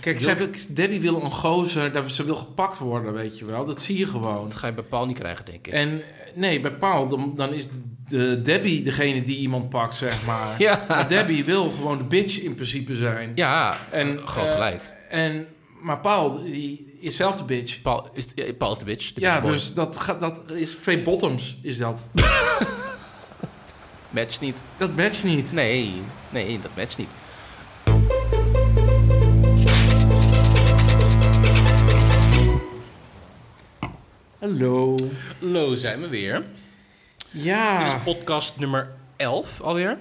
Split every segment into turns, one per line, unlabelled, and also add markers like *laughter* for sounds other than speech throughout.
Kijk, zij wil- Debbie wil een gozer, dat- ze wil gepakt worden, weet je wel. Dat zie je gewoon.
Dat ga je bij Paul niet krijgen, denk ik.
En eh, nee, bij Paul, dan, dan is de Debbie degene die iemand pakt, zeg maar.
*laughs* Ja,
Maar Debbie wil gewoon de bitch in principe zijn.
ja
En,
en, groot
eh,
gelijk.
En, maar Paul, die is zelf de bitch.
Paul is, eh, Paul is de bitch. De
Ja,
bitch boy.
dus dat, gaat- dat is twee bottoms, is dat.
Matcht niet.
Dat matcht niet.
Nee, nee, dat matcht niet.
Hallo.
Hallo, zijn we weer. Dit
Ja.
is podcast nummer 11 alweer.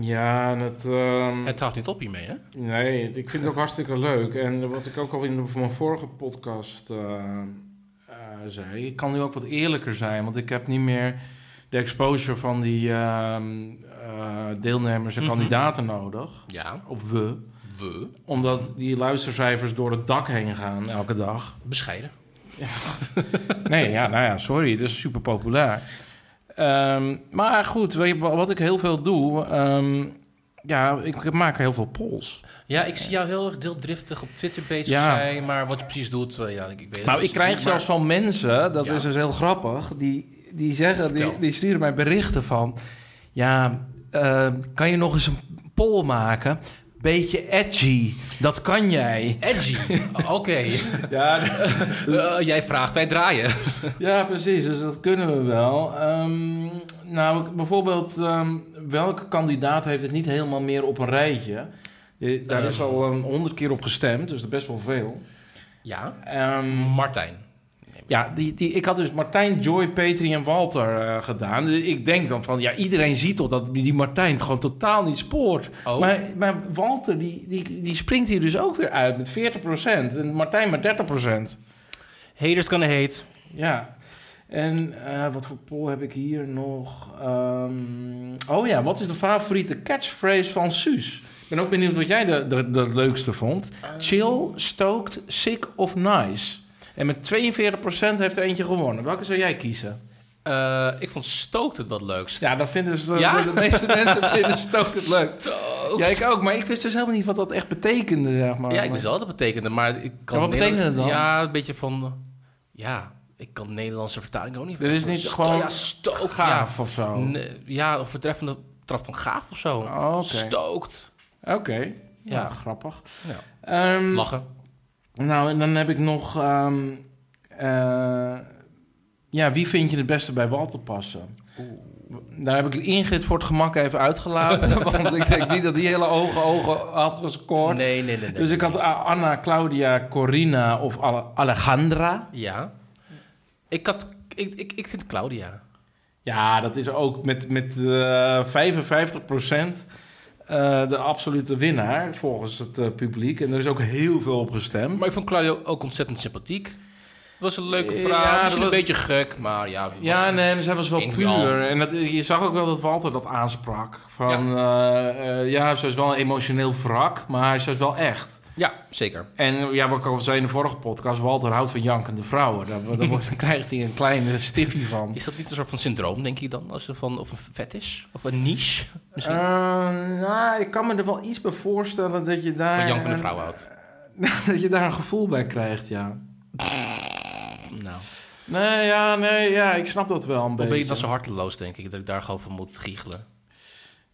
Ja, en het... ehm,
Het houdt niet op hiermee, hè?
Nee, ik vind het ook hartstikke leuk. En wat ik ook al in de- van mijn vorige podcast eh, eh, zei, ik kan nu ook wat eerlijker zijn, want ik heb niet meer de exposure van die ehm, eh, deelnemers en
Mhm.
kandidaten nodig.
Ja,
Op we.
we.
Omdat die luistercijfers door het dak heen gaan elke dag.
Bescheiden.
Nee, ja, nou ja, sorry, het is super populair. Ehm, maar goed, weet je, wa- wat ik heel veel doe, ehm, ja, ik maak heel veel polls.
Ja, ik zie jou heel erg deeldriftig op Twitter bezig
Ja.
zijn, maar wat je precies doet, eh, ja, ik, ik weet het
Nou, ik
niet,
krijg
maar-
zelfs van mensen, dat
Ja.
is dus heel grappig, die, die zeggen, die,
Vertel.
die sturen mij berichten van, ja, eh, kan je nog eens een poll maken? Beetje edgy, dat kan
*laughs*
jij. *laughs*
Edgy. Oké.
Ja,
*laughs* Eh, jij vraagt, wij draaien.
ja precies, dus dat kunnen we wel. Ehm, nou, ik- bijvoorbeeld, ehm, welke kandidaat heeft het niet helemaal meer op een rijtje? Eh, Daar
Ehm.
is al honderd keer op gestemd, dus dat is best wel veel.
Ja.
Ehm,
Martijn.
Ja, die, die, ik had dus Martijn, Joy, Petri en Walter eh, gedaan. Dus ik denk dan van, ja, iedereen ziet toch dat die Martijn het gewoon totaal niet spoort.
Oh.
Maar, maar Walter, die, die, die springt hier dus ook weer uit met 40%. En Martijn met 30%.
Haters kan hate.
Ja. En eh, wat voor poll heb ik hier nog? Ehm, oh ja, wat is de favoriete catchphrase van Suus? Ik ben ook benieuwd wat jij de, de, de leukste vond.
Ehm.
Chill, stoked, sick of nice? En met 42% heeft er eentje gewonnen. Welke zou jij kiezen?
Eh, ik vond Stookt het wat leukst.
Ja, dan vinden ze,
Ja?
de meeste mensen
*laughs*
vinden stoked het leuk.
Stookt.
Ja, ik ook. Maar ik wist dus helemaal niet wat dat echt betekende, zeg maar.
Ja, ik wist wel wat dat betekende, maar ik kan...
Ja, wat betekende het dan?
Ja, een beetje van... Ja, ik kan de Nederlandse vertaling ook niet...
Er is niet
Sto-
gewoon
Ja, stookt.
Gaaf of
Ja,
zo.
N- ja een vertreffende trap van gaaf of zo.
Oh, Oké,
Stookt.
Oké. ja.
Ja.
grappig.
Ja.
Ehm,
Lachen.
Nou, en dan heb ik nog... ehm, eh, ja, wie vind je het beste bij Walter passen? Daar heb ik Ingrid voor het gemak even uitgelaten. *laughs* want ik denk niet dat die hele ogen ogen had gescoord.
Nee, nee, nee. nee.
Dus ik had A- Anna, Claudia, Corina of Ale- Alejandra.
Ja. Ik, had, ik, ik, ik vind Claudia.
Ja, dat is ook met, met eh 55 eh, de absolute winnaar volgens het eh, publiek. En er is ook heel veel op gestemd.
Maar ik vond Claudia ook ontzettend sympathiek. Het was een leuke
Ja,
vraag.
dat
Misschien
was-
een beetje gek, maar ja. het
Ja,
was-
nee, maar zij was wel
Ingrid
puur. En dat, je zag ook wel dat Walter dat aansprak. Van, ja, ja ze is wel een emotioneel wrak, maar ze is wel echt.
ja zeker.
En ja, wat ik al zei in de vorige podcast, Walter houdt van jankende vrouwen. Daar, daar
*laughs*
wordt- dan krijgt hij een kleine stiffie van.
Is dat niet een soort van syndroom, denk je dan? Als er van, of een vet is? Of een niche? Misschien.
Eh, nou, ik kan me er wel iets bij voorstellen dat je daar...
van jankende vrouw houdt.
*laughs* dat je daar een gevoel bij krijgt, ja.
Nou,
Nee, ja, nee, ja, ik snap dat wel een
dan ben je
beetje.
dan zo harteloos, denk ik. Dat ik daar gewoon van moet giechelen.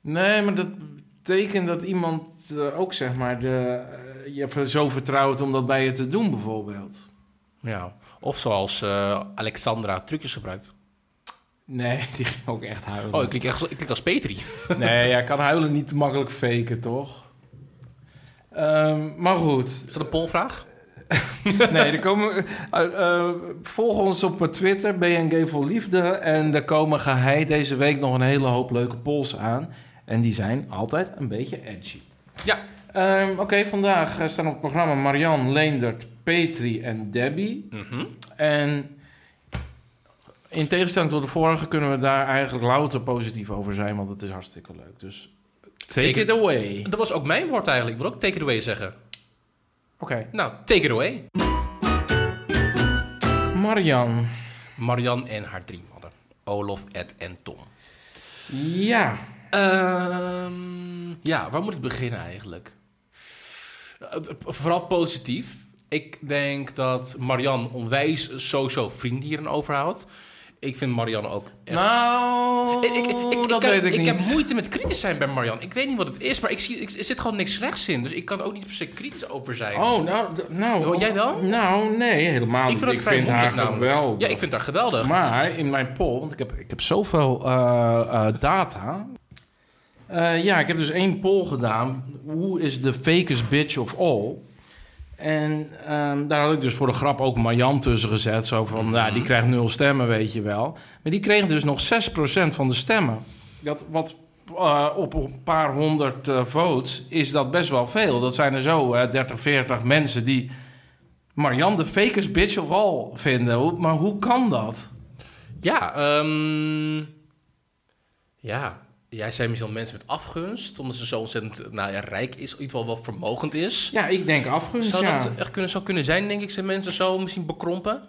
Nee, maar dat betekent dat iemand eh, ook, zeg maar, de, eh, je ver- zo vertrouwt om dat bij je te doen, bijvoorbeeld.
Ja. Of zoals eh, Alexandra trucjes gebruikt.
Nee, *laughs* die ging ook echt huilen.
Oh, ik klink, echt, ik klink als Petri.
Nee, ja, kan huilen niet te makkelijk faken, toch? Ehm, maar goed.
Is dat een polvraag?
Nee, er komen, eh, eh, volg ons op Twitter, BNG voor Liefde. En er komen geheid deze week nog een hele hoop leuke polls aan. En die zijn altijd een beetje edgy.
Ja.
Ehm, Oké, vandaag eh, staan op het programma Marian, Leendert, Petri en Debbie.
Mhm.
En in tegenstelling tot de vorige kunnen we daar eigenlijk louter positief over zijn, want het is hartstikke leuk. Dus take,
Take
it away.
Dat was ook mijn woord eigenlijk. Ik wil ook take it away zeggen.
Oké,
Nou, take it away.
Marian.
Marian en haar drie mannen. Olof, Ed en Tom.
Ja,
Ehm, ja, waar moet ik beginnen eigenlijk? Het- Vooral positief. Ik denk dat Marian onwijs sowieso vrienden hierin overhoudt. Ik vind Marian ook echt...
Nou,
Ik- ik- ik- ik
dat
kan-
weet ik,
Ik
niet.
heb moeite met kritisch zijn bij Marian. Ik weet niet wat het is, maar ik zie, ik, er zit gewoon niks slechts in. Dus ik kan er ook niet per se kritisch over zijn.
Oh, nou, d- nou.
Wil jij wel?
Nou, nee, helemaal niet. Ik vind, haar
namelijk.
geweldig.
Ja, ik vind haar geweldig.
Maar in mijn poll, want ik heb, ik heb zoveel eh, eh, data. Eh, ja, ik heb dus één poll gedaan. Who is the fakest bitch of all? En ehm, daar had ik dus voor de grap ook Marjan tussen gezet. Zo van, nou, die krijgt nul stemmen, weet je wel. Maar die kreeg dus nog 6% van de stemmen. Dat, wat eh, op een paar honderd eh, votes is dat best wel veel. Dat zijn er zo eh, 30, 40 mensen die Marjan de fakest bitch of all vinden. Hoe- Maar hoe kan dat?
Ja, ehm, ja, jij zijn misschien mensen met afgunst, omdat ze zo ontzettend nou ja, rijk is, in ieder geval wel vermogend is.
Ja, ik denk afgunst,
Zou
ja.
dat echt kunnen, zou kunnen zijn, denk ik, zijn mensen zo misschien bekrompen?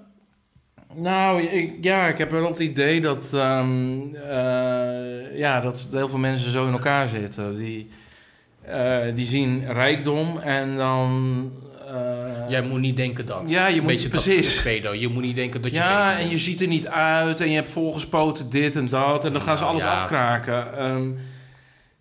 Nou, ik, ja, ik heb wel het idee dat, ehm, eh, ja, dat heel veel mensen zo in elkaar zitten. Die, eh, die zien rijkdom en dan... eh,
Jij moet niet denken dat.
Ja, je
Een
moet-
beetje dat
precies.
is pedo. Je moet niet denken dat je
ja,
beter
en je
bent.
ziet er niet uit en je hebt volgespoten dit en dat. En dan gaan ze
Nou,
alles
ja.
afkraken. Ehm,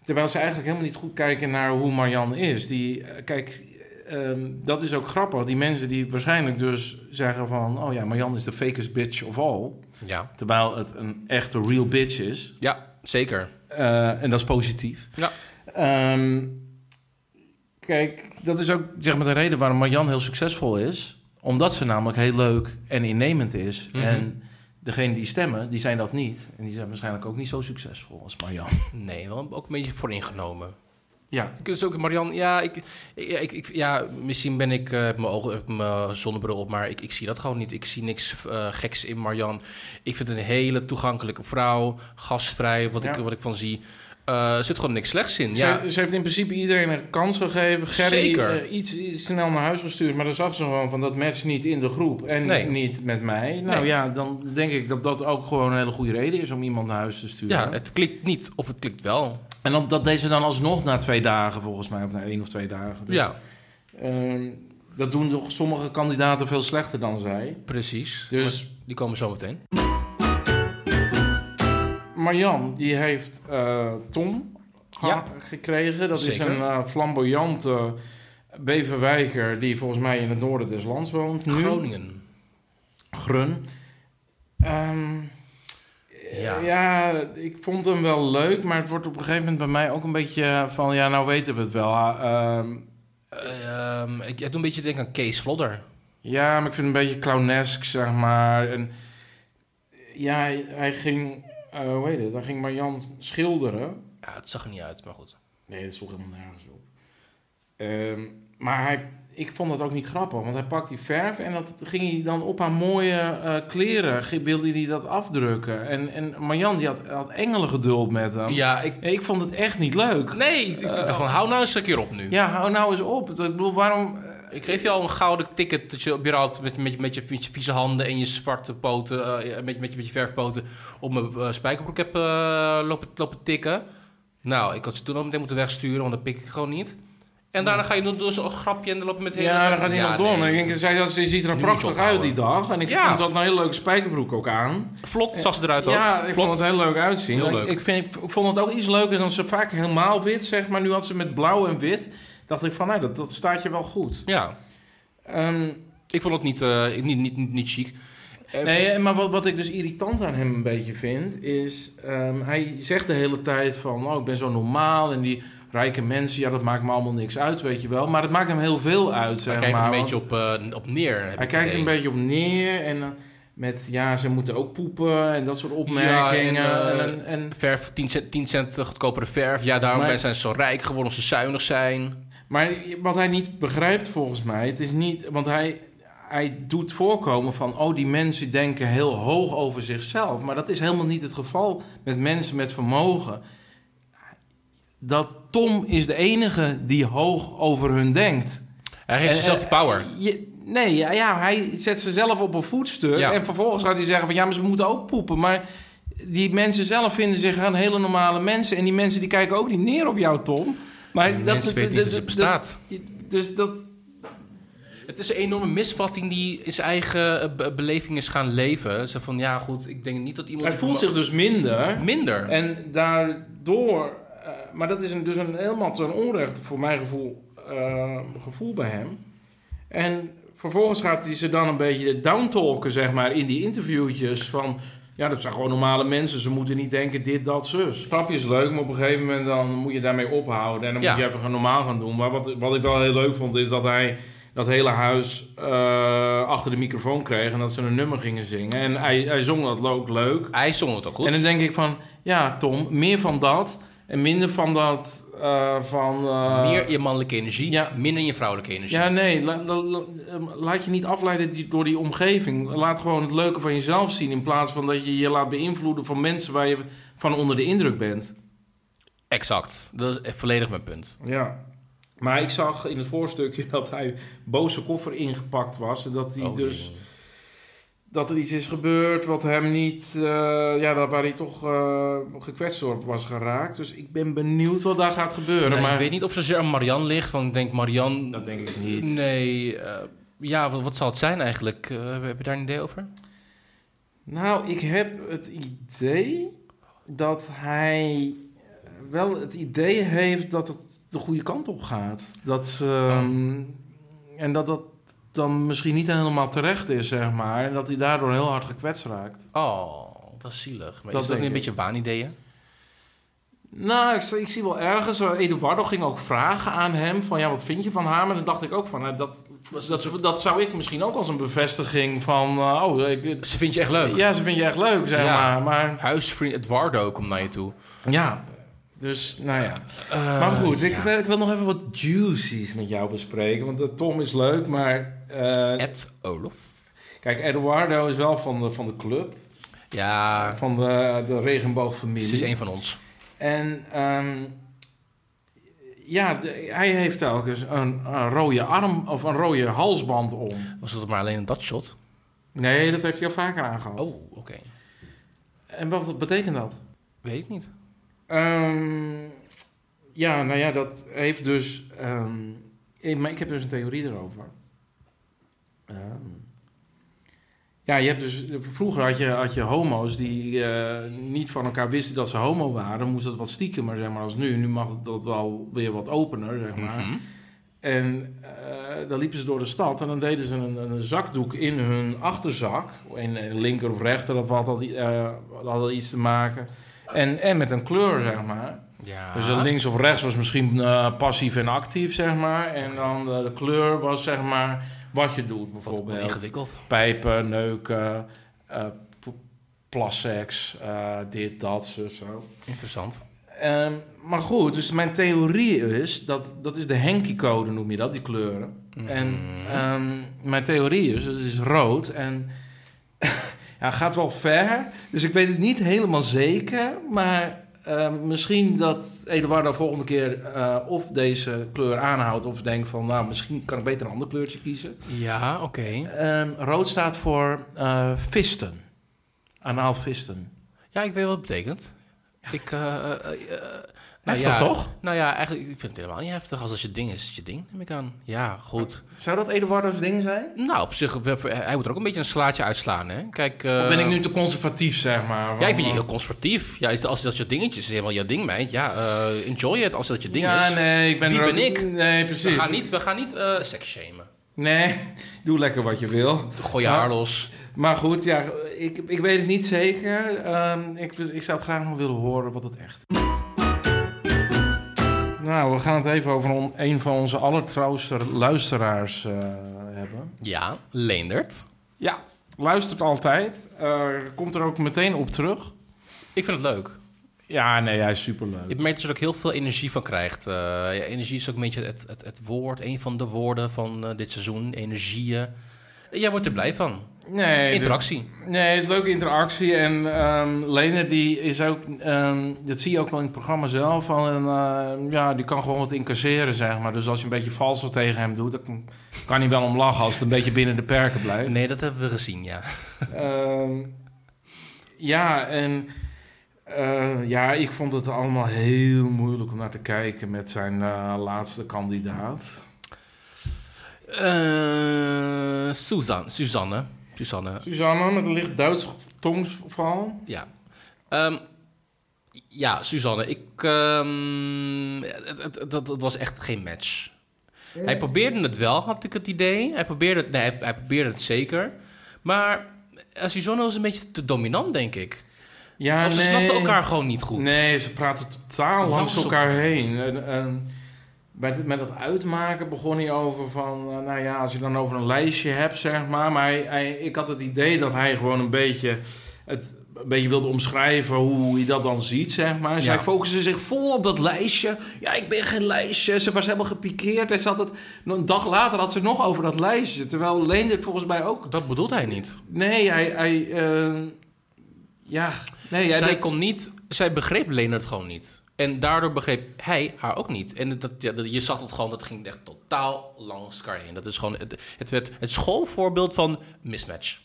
terwijl ze eigenlijk helemaal niet goed kijken naar hoe Marjan is. Die, eh, kijk, ehm, dat is ook grappig. Die mensen die waarschijnlijk dus zeggen van... Oh ja, Marjan is de fakest bitch of all.
Ja.
Terwijl het een echte real bitch is.
ja, zeker.
Eh, en dat is positief.
Ja.
Ehm, kijk, dat is ook zeg maar, de reden waarom Marjan heel succesvol is. Omdat ze namelijk heel leuk en innemend is.
Mhm.
En degene die stemmen, die zijn dat niet. En die zijn waarschijnlijk ook niet zo succesvol als Marjan.
Nee, wel ook een beetje vooringenomen.
Ja.
Ik is ook Marian, ja, ik, ja, ik, ik- ja, misschien ben ik eh, heb mijn ogen, heb mijn zonnebril op, maar ik, ik zie dat gewoon niet. Ik zie niks eh, geks in Marian. Ik vind het een hele toegankelijke vrouw, gastvrij, wat, ik,
Ja.
wat ik van zie. Eh, er zit gewoon niks slechts in. Ja,
Ze, ze heeft in principe iedereen een kans gegeven. Gerry
Zeker.
eh, iets, iets snel naar huis gestuurd. Maar dan zag ze gewoon van dat matcht niet in de groep. En
Nee.
niet met mij. Nou
Nee.
ja, dan denk ik dat dat ook gewoon een hele goede reden is om iemand naar huis te sturen.
ja, het klikt niet of het klikt wel.
En dat, dat deed ze dan alsnog na twee dagen, volgens mij, of na één of twee dagen. Dus,
ja,
ehm, dat doen toch sommige kandidaten veel slechter dan zij.
precies.
Dus
Maar die komen zo meteen.
Marjan, die heeft eh, Tom ge-
Ja.
gekregen. Dat is
Zeker.
een eh, flamboyante Beverwijker die volgens mij in het noorden des lands woont. Nu.
Groningen.
Grun. Ehm, eh,
Ja.
ja. ik vond hem wel leuk, maar het wordt op een gegeven moment bij mij ook een beetje van... Ja, nou weten we het wel. Ah, ehm,
Ehm, ik, ik doe een beetje denken aan Kees Vlodder.
Ja, maar ik vind het een beetje clownesk, zeg maar. En ja, hij, hij ging, eh, hoe heet het? Hij ging Marjan schilderen.
Ja, het zag er niet uit, maar goed.
Nee, dat sloeg helemaal nergens op. Ehm, maar hij, ik vond dat ook niet grappig, want hij pakt die verf en dat ging hij dan op haar mooie eh, kleren, ge- wilde hij dat afdrukken. En, en Marjan die had, had engelengeduld met hem.
Ja, ik...
Ik vond het echt niet leuk.
Nee, ik, ik dacht van, hou nou eens een keer op nu.
Ja, hou nou eens op. Ik bedoel, waarom...
Ik geef je al een gouden ticket dat je op je raad met, met, met, je, met je vieze handen en je zwarte poten, eh, met, met, je- met je verfpoten, op mijn eh, spijkerbroek heb eh, lopen, lopen tikken. Nou, ik had ze toen al meteen moeten wegsturen, want dat pik ik gewoon niet. En daarna ga je doen, doen zo'n grapje en dan lopen met
Ja, dan gaat iemand door.
nee.
En ik denk, zij, dat- ze ziet er
Nu moet
prachtig
je ophouden.
uit die dag. En ik
Ja.
vond ze had een hele leuke spijkerbroek ook aan.
Vlot zag ze eruit ook.
Ja, ik
Vlot.
vond het heel leuk uitzien.
Heel
Ik-
leuk.
Ik, vind, ik vond het ook iets leukers dan ze vaak helemaal wit, zeg maar. Nu had ze met blauw en wit. Dacht ik van, nou, dat, dat staat je wel goed.
Ja,
Ehm,
ik vond het niet, eh, niet, niet, niet, niet chic. Eh,
nee, maar wat, wat ik dus irritant aan hem een beetje vind, is... ehm, hij zegt de hele tijd van, oh, ik ben zo normaal. En die rijke mensen, ja, dat maakt me allemaal niks uit, weet je wel. Maar het maakt hem heel veel uit, zeg
Hij kijkt er
maar.
een
want-
beetje op, eh, op neer. heb
Hij
ik
kijkt
idee.
er een beetje op neer en eh, met ja, ze moeten ook poepen en dat soort opmerkingen.
Ja, en, eh,
en, en,
Verf, 10 cent, 10 cent goedkopere verf. Ja, daarom
Maar-
ben- zijn ze zo rijk geworden, omdat ze zuinig zijn.
maar wat hij niet begrijpt volgens mij, het is niet, want hij, hij doet voorkomen van, oh die mensen denken heel hoog over zichzelf. Maar dat is helemaal niet het geval met mensen met vermogen. Dat Tom is de enige die hoog over hun denkt.
Hij heeft
En-
dezelfde power.
Je- nee, ja, ja, hij zet ze zelf op een voetstuk.
Ja.
En vervolgens gaat hij zeggen van ja, maar ze moeten ook poepen. Maar die mensen zelf vinden zich aan hele normale mensen. En die mensen die kijken ook niet neer op jou, Tom. Maar
mensen weten niet dat het bestaat.
dat- Dus dat...
Het is een enorme misvatting die in zijn eigen eh, be- beleving is gaan leven. Zo van, ja goed, ik denk niet dat iemand...
Hij voelt zich dus minder.
minder.
En daardoor... eh, maar dat is een, dus een, helemaal een onrecht voor mijn gevoel, eh, gevoel bij hem. En vervolgens gaat hij ze dan een beetje downtalken, zeg maar, in die interviewtjes van... Ja, dat zijn gewoon normale mensen. Ze moeten niet denken dit, dat, zus. Grapje is leuk, maar op een gegeven moment dan moet je daarmee ophouden. En dan
Ja.
moet je even gaan normaal gaan doen. Maar wat, wat ik wel heel leuk vond, is dat hij dat hele huis eh, achter de microfoon kreeg... en dat ze een nummer gingen zingen. En hij, hij zong dat ook leuk.
Hij zong het ook goed.
En dan denk ik van, ja Tom, meer van dat en minder van dat eh, van... eh,
Meer je mannelijke energie,
ja.
minder je vrouwelijke energie.
Ja, nee, la- la- la- ehm, laat je niet afleiden die- door die omgeving. Laat gewoon het leuke van jezelf zien in plaats van dat je je laat beïnvloeden van mensen waar je van onder de indruk bent.
Exact. Dat is volledig mijn punt.
Ja. Maar ik zag in het voorstukje dat hij boze koffer ingepakt was en dat hij
Oh,
dus...
nee.
Dat er iets is gebeurd wat hem niet, eh, ja, dat- waar hij toch eh, gekwetst door was geraakt. Dus ik ben benieuwd wat daar gaat gebeuren.
Nou,
maar...
Ik weet niet of zozeer aan Marianne ligt, want ik denk Marianne...
Dat denk ik niet.
Nee, eh, ja, wat, wat zal het zijn eigenlijk? Eh, heb je daar een idee over?
Nou, ik heb het idee dat hij eh, wel het idee heeft dat het de goede kant op gaat. Dat ze, ehm, en dat dat dan misschien niet helemaal terecht is, zeg maar. En dat hij daardoor heel hard gekwetst raakt.
Oh, dat is zielig. Maar
Dat
is dat
denk
niet een
ik.
beetje waanideeën?
Nou, ik, zie- ik zie wel ergens... eh, Eduardo ging ook vragen aan hem van... Ja, wat vind je van haar? Maar dan dacht ik ook van... nou, dat, dat, dat zou ik misschien ook als een bevestiging van... eh, oh, ik,
Ze vindt je echt leuk.
ja, ze vind je echt leuk, zeg
Ja.
maar. Maar
Huisvriend Eduardo komt naar je toe.
Ja, dus nou ja.
Eh,
maar goed, ik,
ja.
wil- ik wil nog even wat juicies met jou bespreken. Want eh, Tom is leuk, maar... eh,
Ed Olof.
kijk, Eduardo is wel van de, van de club.
Ja,
Van de, de regenboogfamilie.
ze is een van ons.
En ehm, ja, de- hij heeft telkens een, een rode arm of een rode halsband om.
Was het maar alleen dat shot?
Nee, dat heeft hij al vaker aangehad.
Oh, oké.
En wat betekent dat?
Weet ik niet.
Ehm, ja, nou ja, dat heeft dus. ehm, ik, maar ik heb dus een theorie erover. Ehm, ja, je hebt dus. Vroeger had je, had je homo's die eh, niet van elkaar wisten dat ze homo waren. Moest dat wat stiekemer, zeg maar, als nu. Nu mag dat wel weer wat opener, zeg maar.
Mhm.
En eh, dan liepen ze door de stad en dan deden ze een, een zakdoek in hun achterzak. In, in linker of rechter, dat had, dat, eh, dat had iets te maken. En, en met een kleur, zeg maar.
Ja.
Dus eh, links of rechts was misschien eh, passief en actief, zeg maar. En dan eh, de kleur was, zeg maar, wat je doet,
Wat- wat
bijvoorbeeld.
ingewikkeld.
Pijpen, neuken, eh p- plasseks, eh, dit, dat, zo, zo.
Interessant.
Ehm, maar goed, dus mijn theorie is dat dat is de Henkie-code, noem je dat, die kleuren.
Mhm.
En
Mm.
ehm, mijn theorie is, dus het is rood en *laughs* ja, gaat wel ver. Dus ik weet het niet helemaal zeker, maar ehm, misschien dat Eduardo volgende keer eh, of deze kleur aanhoudt of denkt van, nou, misschien kan ik beter een ander kleurtje kiezen.
Ja, oké.
Ehm, rood staat voor eh visten, anaal visten.
Ja, ik weet wat het betekent. Ik, eh, eh, eh, eh, nou
Heftig,
ja,
toch?
Nou ja, eigenlijk, ik vind het helemaal niet heftig. Als het je ding is, is het je ding, neem ik aan. Ja, goed.
Zou dat Eduardo's ding zijn?
Nou, op zich, we- we- hij moet er ook een beetje een slaatje uitslaan, hè? Kijk, eh,
Of ben ik nu te conservatief, zeg maar?
Ja, ik vind je heel conservatief. Ja, is- als dat je dingetje is, is helemaal jouw ding, meid. Ja, eh, enjoy het als dat je ding
ja,
is.
nee, ik ben
Wie
er ook-
ben ik?
Nee, precies.
we gaan niet, we gaan niet eh, seks shamen.
Nee, doe lekker wat je wil.
Gooi je
Ja.
haar los.
Maar goed, ja, ik, ik weet het niet zeker. Ehm, ik, ik zou het graag nog willen horen wat het echt is. Nou, we gaan het even over on- een van onze allertrouwste luisteraars eh, hebben.
Ja, Leendert.
Ja, luistert altijd. Eh, komt er ook meteen op terug.
Ik vind het leuk.
Ja, nee, hij is superleuk.
Ik merk dat je er ook heel veel energie van krijgt. Eh, ja, energie is ook een beetje het, het, het woord, een van de woorden van eh, dit seizoen. Energieën. Jij wordt er blij van.
Nee, dit-
Interactie.
Nee, het is leuke interactie. En ehm Lene, die is ook, ehm, dat zie je ook wel in het programma zelf. Van, en, eh, ja, die kan gewoon wat incasseren, zeg maar. Dus als je een beetje vals wat tegen hem doet, dan kan hij wel om lachen als het een beetje binnen de perken blijft.
Nee, dat hebben we gezien, ja.
Ehm, ja, en eh, ja, ik vond het allemaal heel moeilijk om naar te kijken met zijn eh, laatste kandidaat.
Eh, Suzanne. Suzanne. Suzanne.
Suzanne met een licht Duits tongsverhaal.
Ja. Ehm, ja, Suzanne, ik, ehm, het, het- het- dat, dat was echt geen match. Hij probeerde het wel, had ik het idee. Hij probeerde het, nee, hij, hij probeerde het zeker. Maar eh, Suzanne was een beetje te dominant, denk ik.
Ja,
of ze snapten elkaar gewoon niet goed.
Nee, ze praten totaal
Langs
langs
elkaar.
elkaar heen. En, en bij het- met dat uitmaken begon hij over van... eh, nou ja, als je dan over een lijstje hebt, zeg maar. Maar hij, hij- ik had het idee dat hij gewoon een beetje... Het, een beetje wilde omschrijven hoe hij dat dan ziet, zeg maar. Zij
Ja.
focussen zich vol op dat lijstje. Ja, ik ben geen lijstje. Ze was helemaal gepikeerd. En ze had het, een dag later had ze het nog over dat lijstje. Terwijl Leendert volgens mij ook...
Dat bedoelde hij niet.
Nee, hij... hij eh, ja, nee. hij-
zij, kon niet zij begreep Leonard gewoon niet. En daardoor begreep hij haar ook niet. En dat, ja, dat- je zag het gewoon, dat ging echt totaal langs elkaar heen. Dat is gewoon het, het, werd het schoolvoorbeeld van mismatch.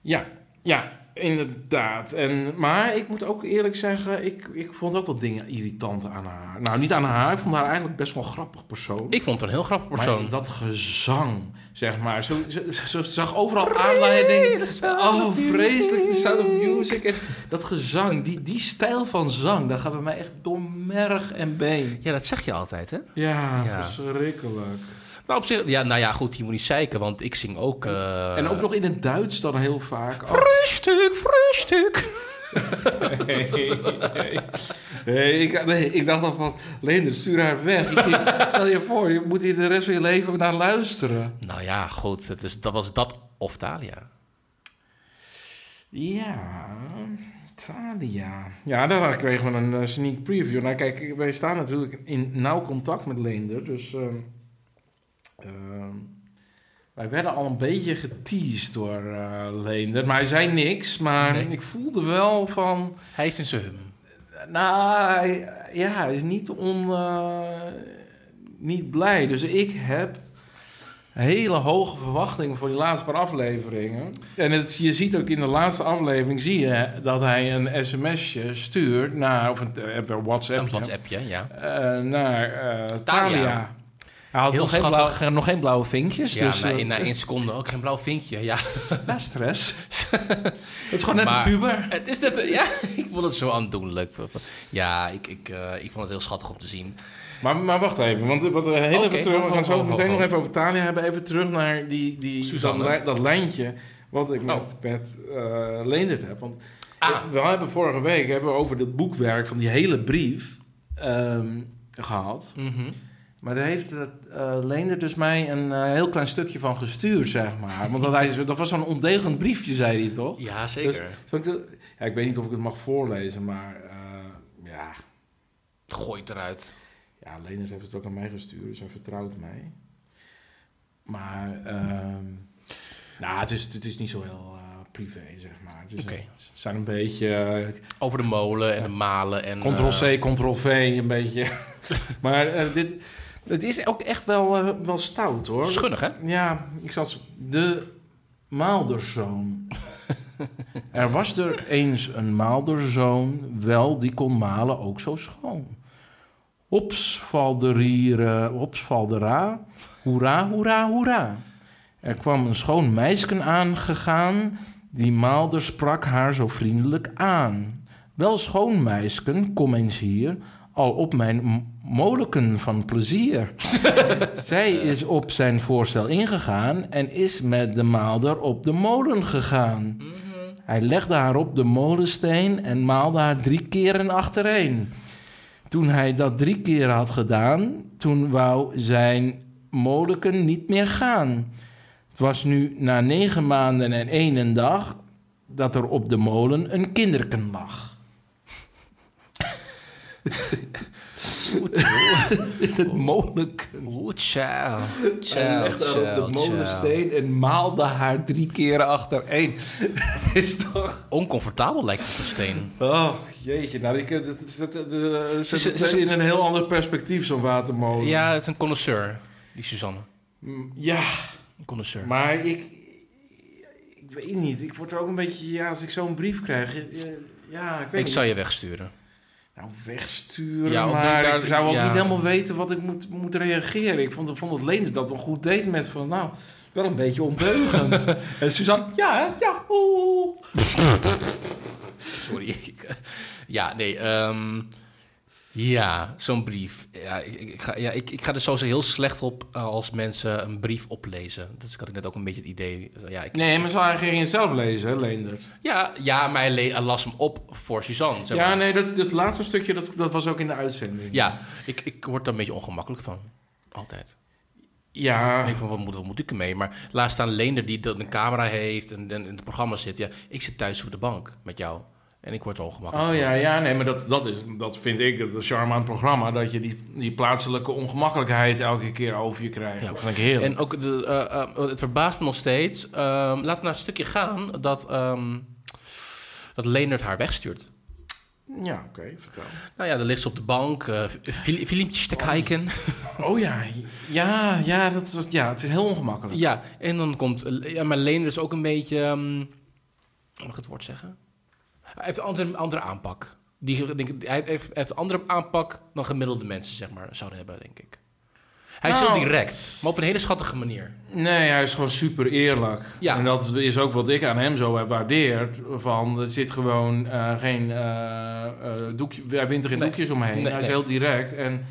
Ja, ja, inderdaad. En, maar ik moet ook eerlijk zeggen, ik, ik vond ook wat dingen irritant aan haar. Nou, niet aan haar, ik vond haar eigenlijk best wel een grappig persoon.
Ik vond het een heel grappig persoon.
Maar dat gezang, zeg maar. Zo, zo, zo- ze zag overal aanleiding. Oh, vreselijk, de sound of music. En dat gezang, die, die stijl van zang, dat gaat bij mij echt door merg en been.
Ja, dat zeg je altijd, hè?
Ja,
Ja.
verschrikkelijk.
Nou, op zich, ja, nou ja, goed, je moet niet zeiken, want ik zing ook... eh,
en ook nog in het Duits dan heel vaak. Oh,
Frühstuk, frühstuk.
*laughs* Nee, nee. Nee, ik, nee, ik dacht al van, Leender, stuur haar weg. Ik denk, *laughs* stel je voor, je moet hier de rest van je leven naar luisteren.
Nou ja, goed, het is, dat was dat of Thalia.
Ja, Talia. Ja, daar kregen we een eh, sneak preview. Nou kijk, wij staan natuurlijk in nauw contact met Leender, dus... ehm, ehm, wij werden al een beetje geteased door eh, Leender, maar hij zei niks. Maar
Nee.
ik voelde wel van...
Hij is in zijn hum.
Nou, hij- ja, hij is niet, on, eh, niet blij. Dus ik heb hele hoge verwachtingen voor die laatste paar afleveringen. En het, je ziet ook in de laatste aflevering zie je dat hij een sms'je stuurt naar, of een, eh, een
Een
WhatsApp
WhatsAppje, ja.
naar eh Talia.
Talia.
Hij had
Heel
nog geen,
schattig.
blauwe, nog geen blauwe vinkjes,
Ja,
dus
na,
eh,
in- na één seconde ook geen blauw vinkje, ja.
na
*laughs*
stress. het is gewoon net
Maar-
een puber.
Het is net, ja, *laughs* ik vond het zo aandoenlijk. Ja, ik, ik, eh, ik vond het heel schattig om te zien.
Maar, maar wacht even, want wat we heel
Oké,
even terug.
ho,
We gaan
ho,
zo
ho,
meteen
ho.
nog even over Tania hebben. Even terug naar die, die, dat,
Suzanne.
lij- dat lijntje wat ik
Oh.
met, met eh, Leendert heb. Want
Ah.
we hebben vorige week hebben we over dat boekwerk van die hele brief ehm, gehad. Maar daar heeft eh, eh, Leendert dus mij een eh, heel klein stukje van gestuurd, zeg maar. Want dat, hij, zo- dat was zo'n ondegend briefje, zei hij toch?
Ja, zeker.
Zal ik, de- ja, ik weet niet of ik het mag voorlezen, maar eh, ja...
Gooi het eruit.
Ja, Leners heeft het ook aan mij gestuurd, dus hij vertrouwt mij. Maar, ehm, nou, het is, het is niet zo heel eh, privé, zeg maar. Het is
Oké.
een- ze zijn een beetje eh,
Over de molen en de malen. En, eh,
Ctrl-C, Ctrl-V, een beetje. *laughs* maar eh, dit, het is ook echt wel, eh, wel stout, hoor.
schunnig, hè?
Ja, ik zat zo- de maalderzoon. er was er eens een maalderzoon, wel die kon malen ook zo schoon. Ops, valderieren, ops, valdera, hoera, hoera, hoera. Er kwam een schoon meisken aangegaan, die maalder sprak haar zo vriendelijk aan. Wel schoon meisken, kom eens hier, al op mijn m- molenken van plezier. Zij is op zijn voorstel ingegaan en is met de maalder op de molen gegaan. Hij legde haar op de molensteen en maalde haar drie keren achtereen. Toen hij dat drie keer had gedaan, toen wou zijn molenken niet meer gaan. Het was nu na negen maanden en één dag dat er op de molen een kinderken lag. *laughs* is het molenken?
Oeh, child.
Hij legde haar op de molensteen en maalde haar drie keren *laughs* achtereen. Het is toch...
Oncomfortabel lijkt het op een steen.
Oh, jeetje. Nou, ik, dat, dat, dat, dat,
Ze- ze- ze-
in een heel ander perspectief, zo'n watermolen.
Ja, het is een connoisseur, die Suzanne.
Mm, Ja,
Een connoisseur.
maar ik... Ik weet niet. Ik word er ook een beetje... Ja, als ik zo'n brief krijg... eh, Ja, ik weet
ik
niet.
zou je wegsturen.
Nou, wegsturen,
Ja, ook niet
maar
daar-
ik zou ook
ja.
niet helemaal weten wat ik moet, moet reageren. Ik vond, vond dat Leenders dat wel goed deed met van, nou, wel een beetje ondeugend.
*laughs*
en Suzanne, ja, hè, ja, oeh.
Sorry. ik- ja, nee. ehm, ja, zo'n brief. Ja, ik, ik ga, ja, ik, ik ga er sowieso heel slecht op eh, als mensen een brief oplezen. Dus ik had ik net ook een beetje het idee. Ja, ik,
Nee, maar zou hij geen zelf lezen, hè, Leenders?
ja, ja maar hij le- hij las hem op voor Suzanne. Zeg
Ja,
maar.
nee, dat, dat laatste stukje, dat, dat was ook in de uitzending.
ja ik, ik word daar een beetje ongemakkelijk van. Altijd. Ik
Ja,
denk van, wat moet, wat moet ik ermee? Maar laat staan Leender die dat een camera heeft en, en in het programma zit. Ja, ik zit thuis op de bank met jou. En ik word er ongemakkelijk
Oh
van.
ja, ja, nee, maar dat, dat, is, dat vind ik de charme aan het programma. Dat je die, die plaatselijke ongemakkelijkheid elke keer over je krijgt.
Ja.
Dat vind ik heerlijk.
En ook de, eh, eh, het verbaast me nog steeds. Ehm, laten we naar een stukje gaan dat, ehm dat Leonard haar wegstuurt.
Ja, oké, vertel.
Nou ja, dan ligt ze op de bank, eh, fil- filmpjes te kijken.
Oh ja, ja, ja, dat was, ja, het is heel ongemakkelijk.
Ja, en dan komt... eh, Ja, maar Leonard is ook een beetje... ehm, mag ik het woord zeggen? Hij heeft een andere, andere aanpak. Die, denk, ik- hij heeft, hij heeft een andere aanpak dan gemiddelde mensen, zeg maar, zouden hebben, denk ik. Hij is
Nou.
heel direct, maar op een hele schattige manier.
Nee, hij is gewoon super eerlijk.
Ja.
En dat is ook wat ik aan hem zo heb waardeerd. Van, er zit gewoon eh, geen eh, eh, doekje, hij wint er geen
Nee.
doekjes omheen.
Nee,
hij is
nee.
heel direct en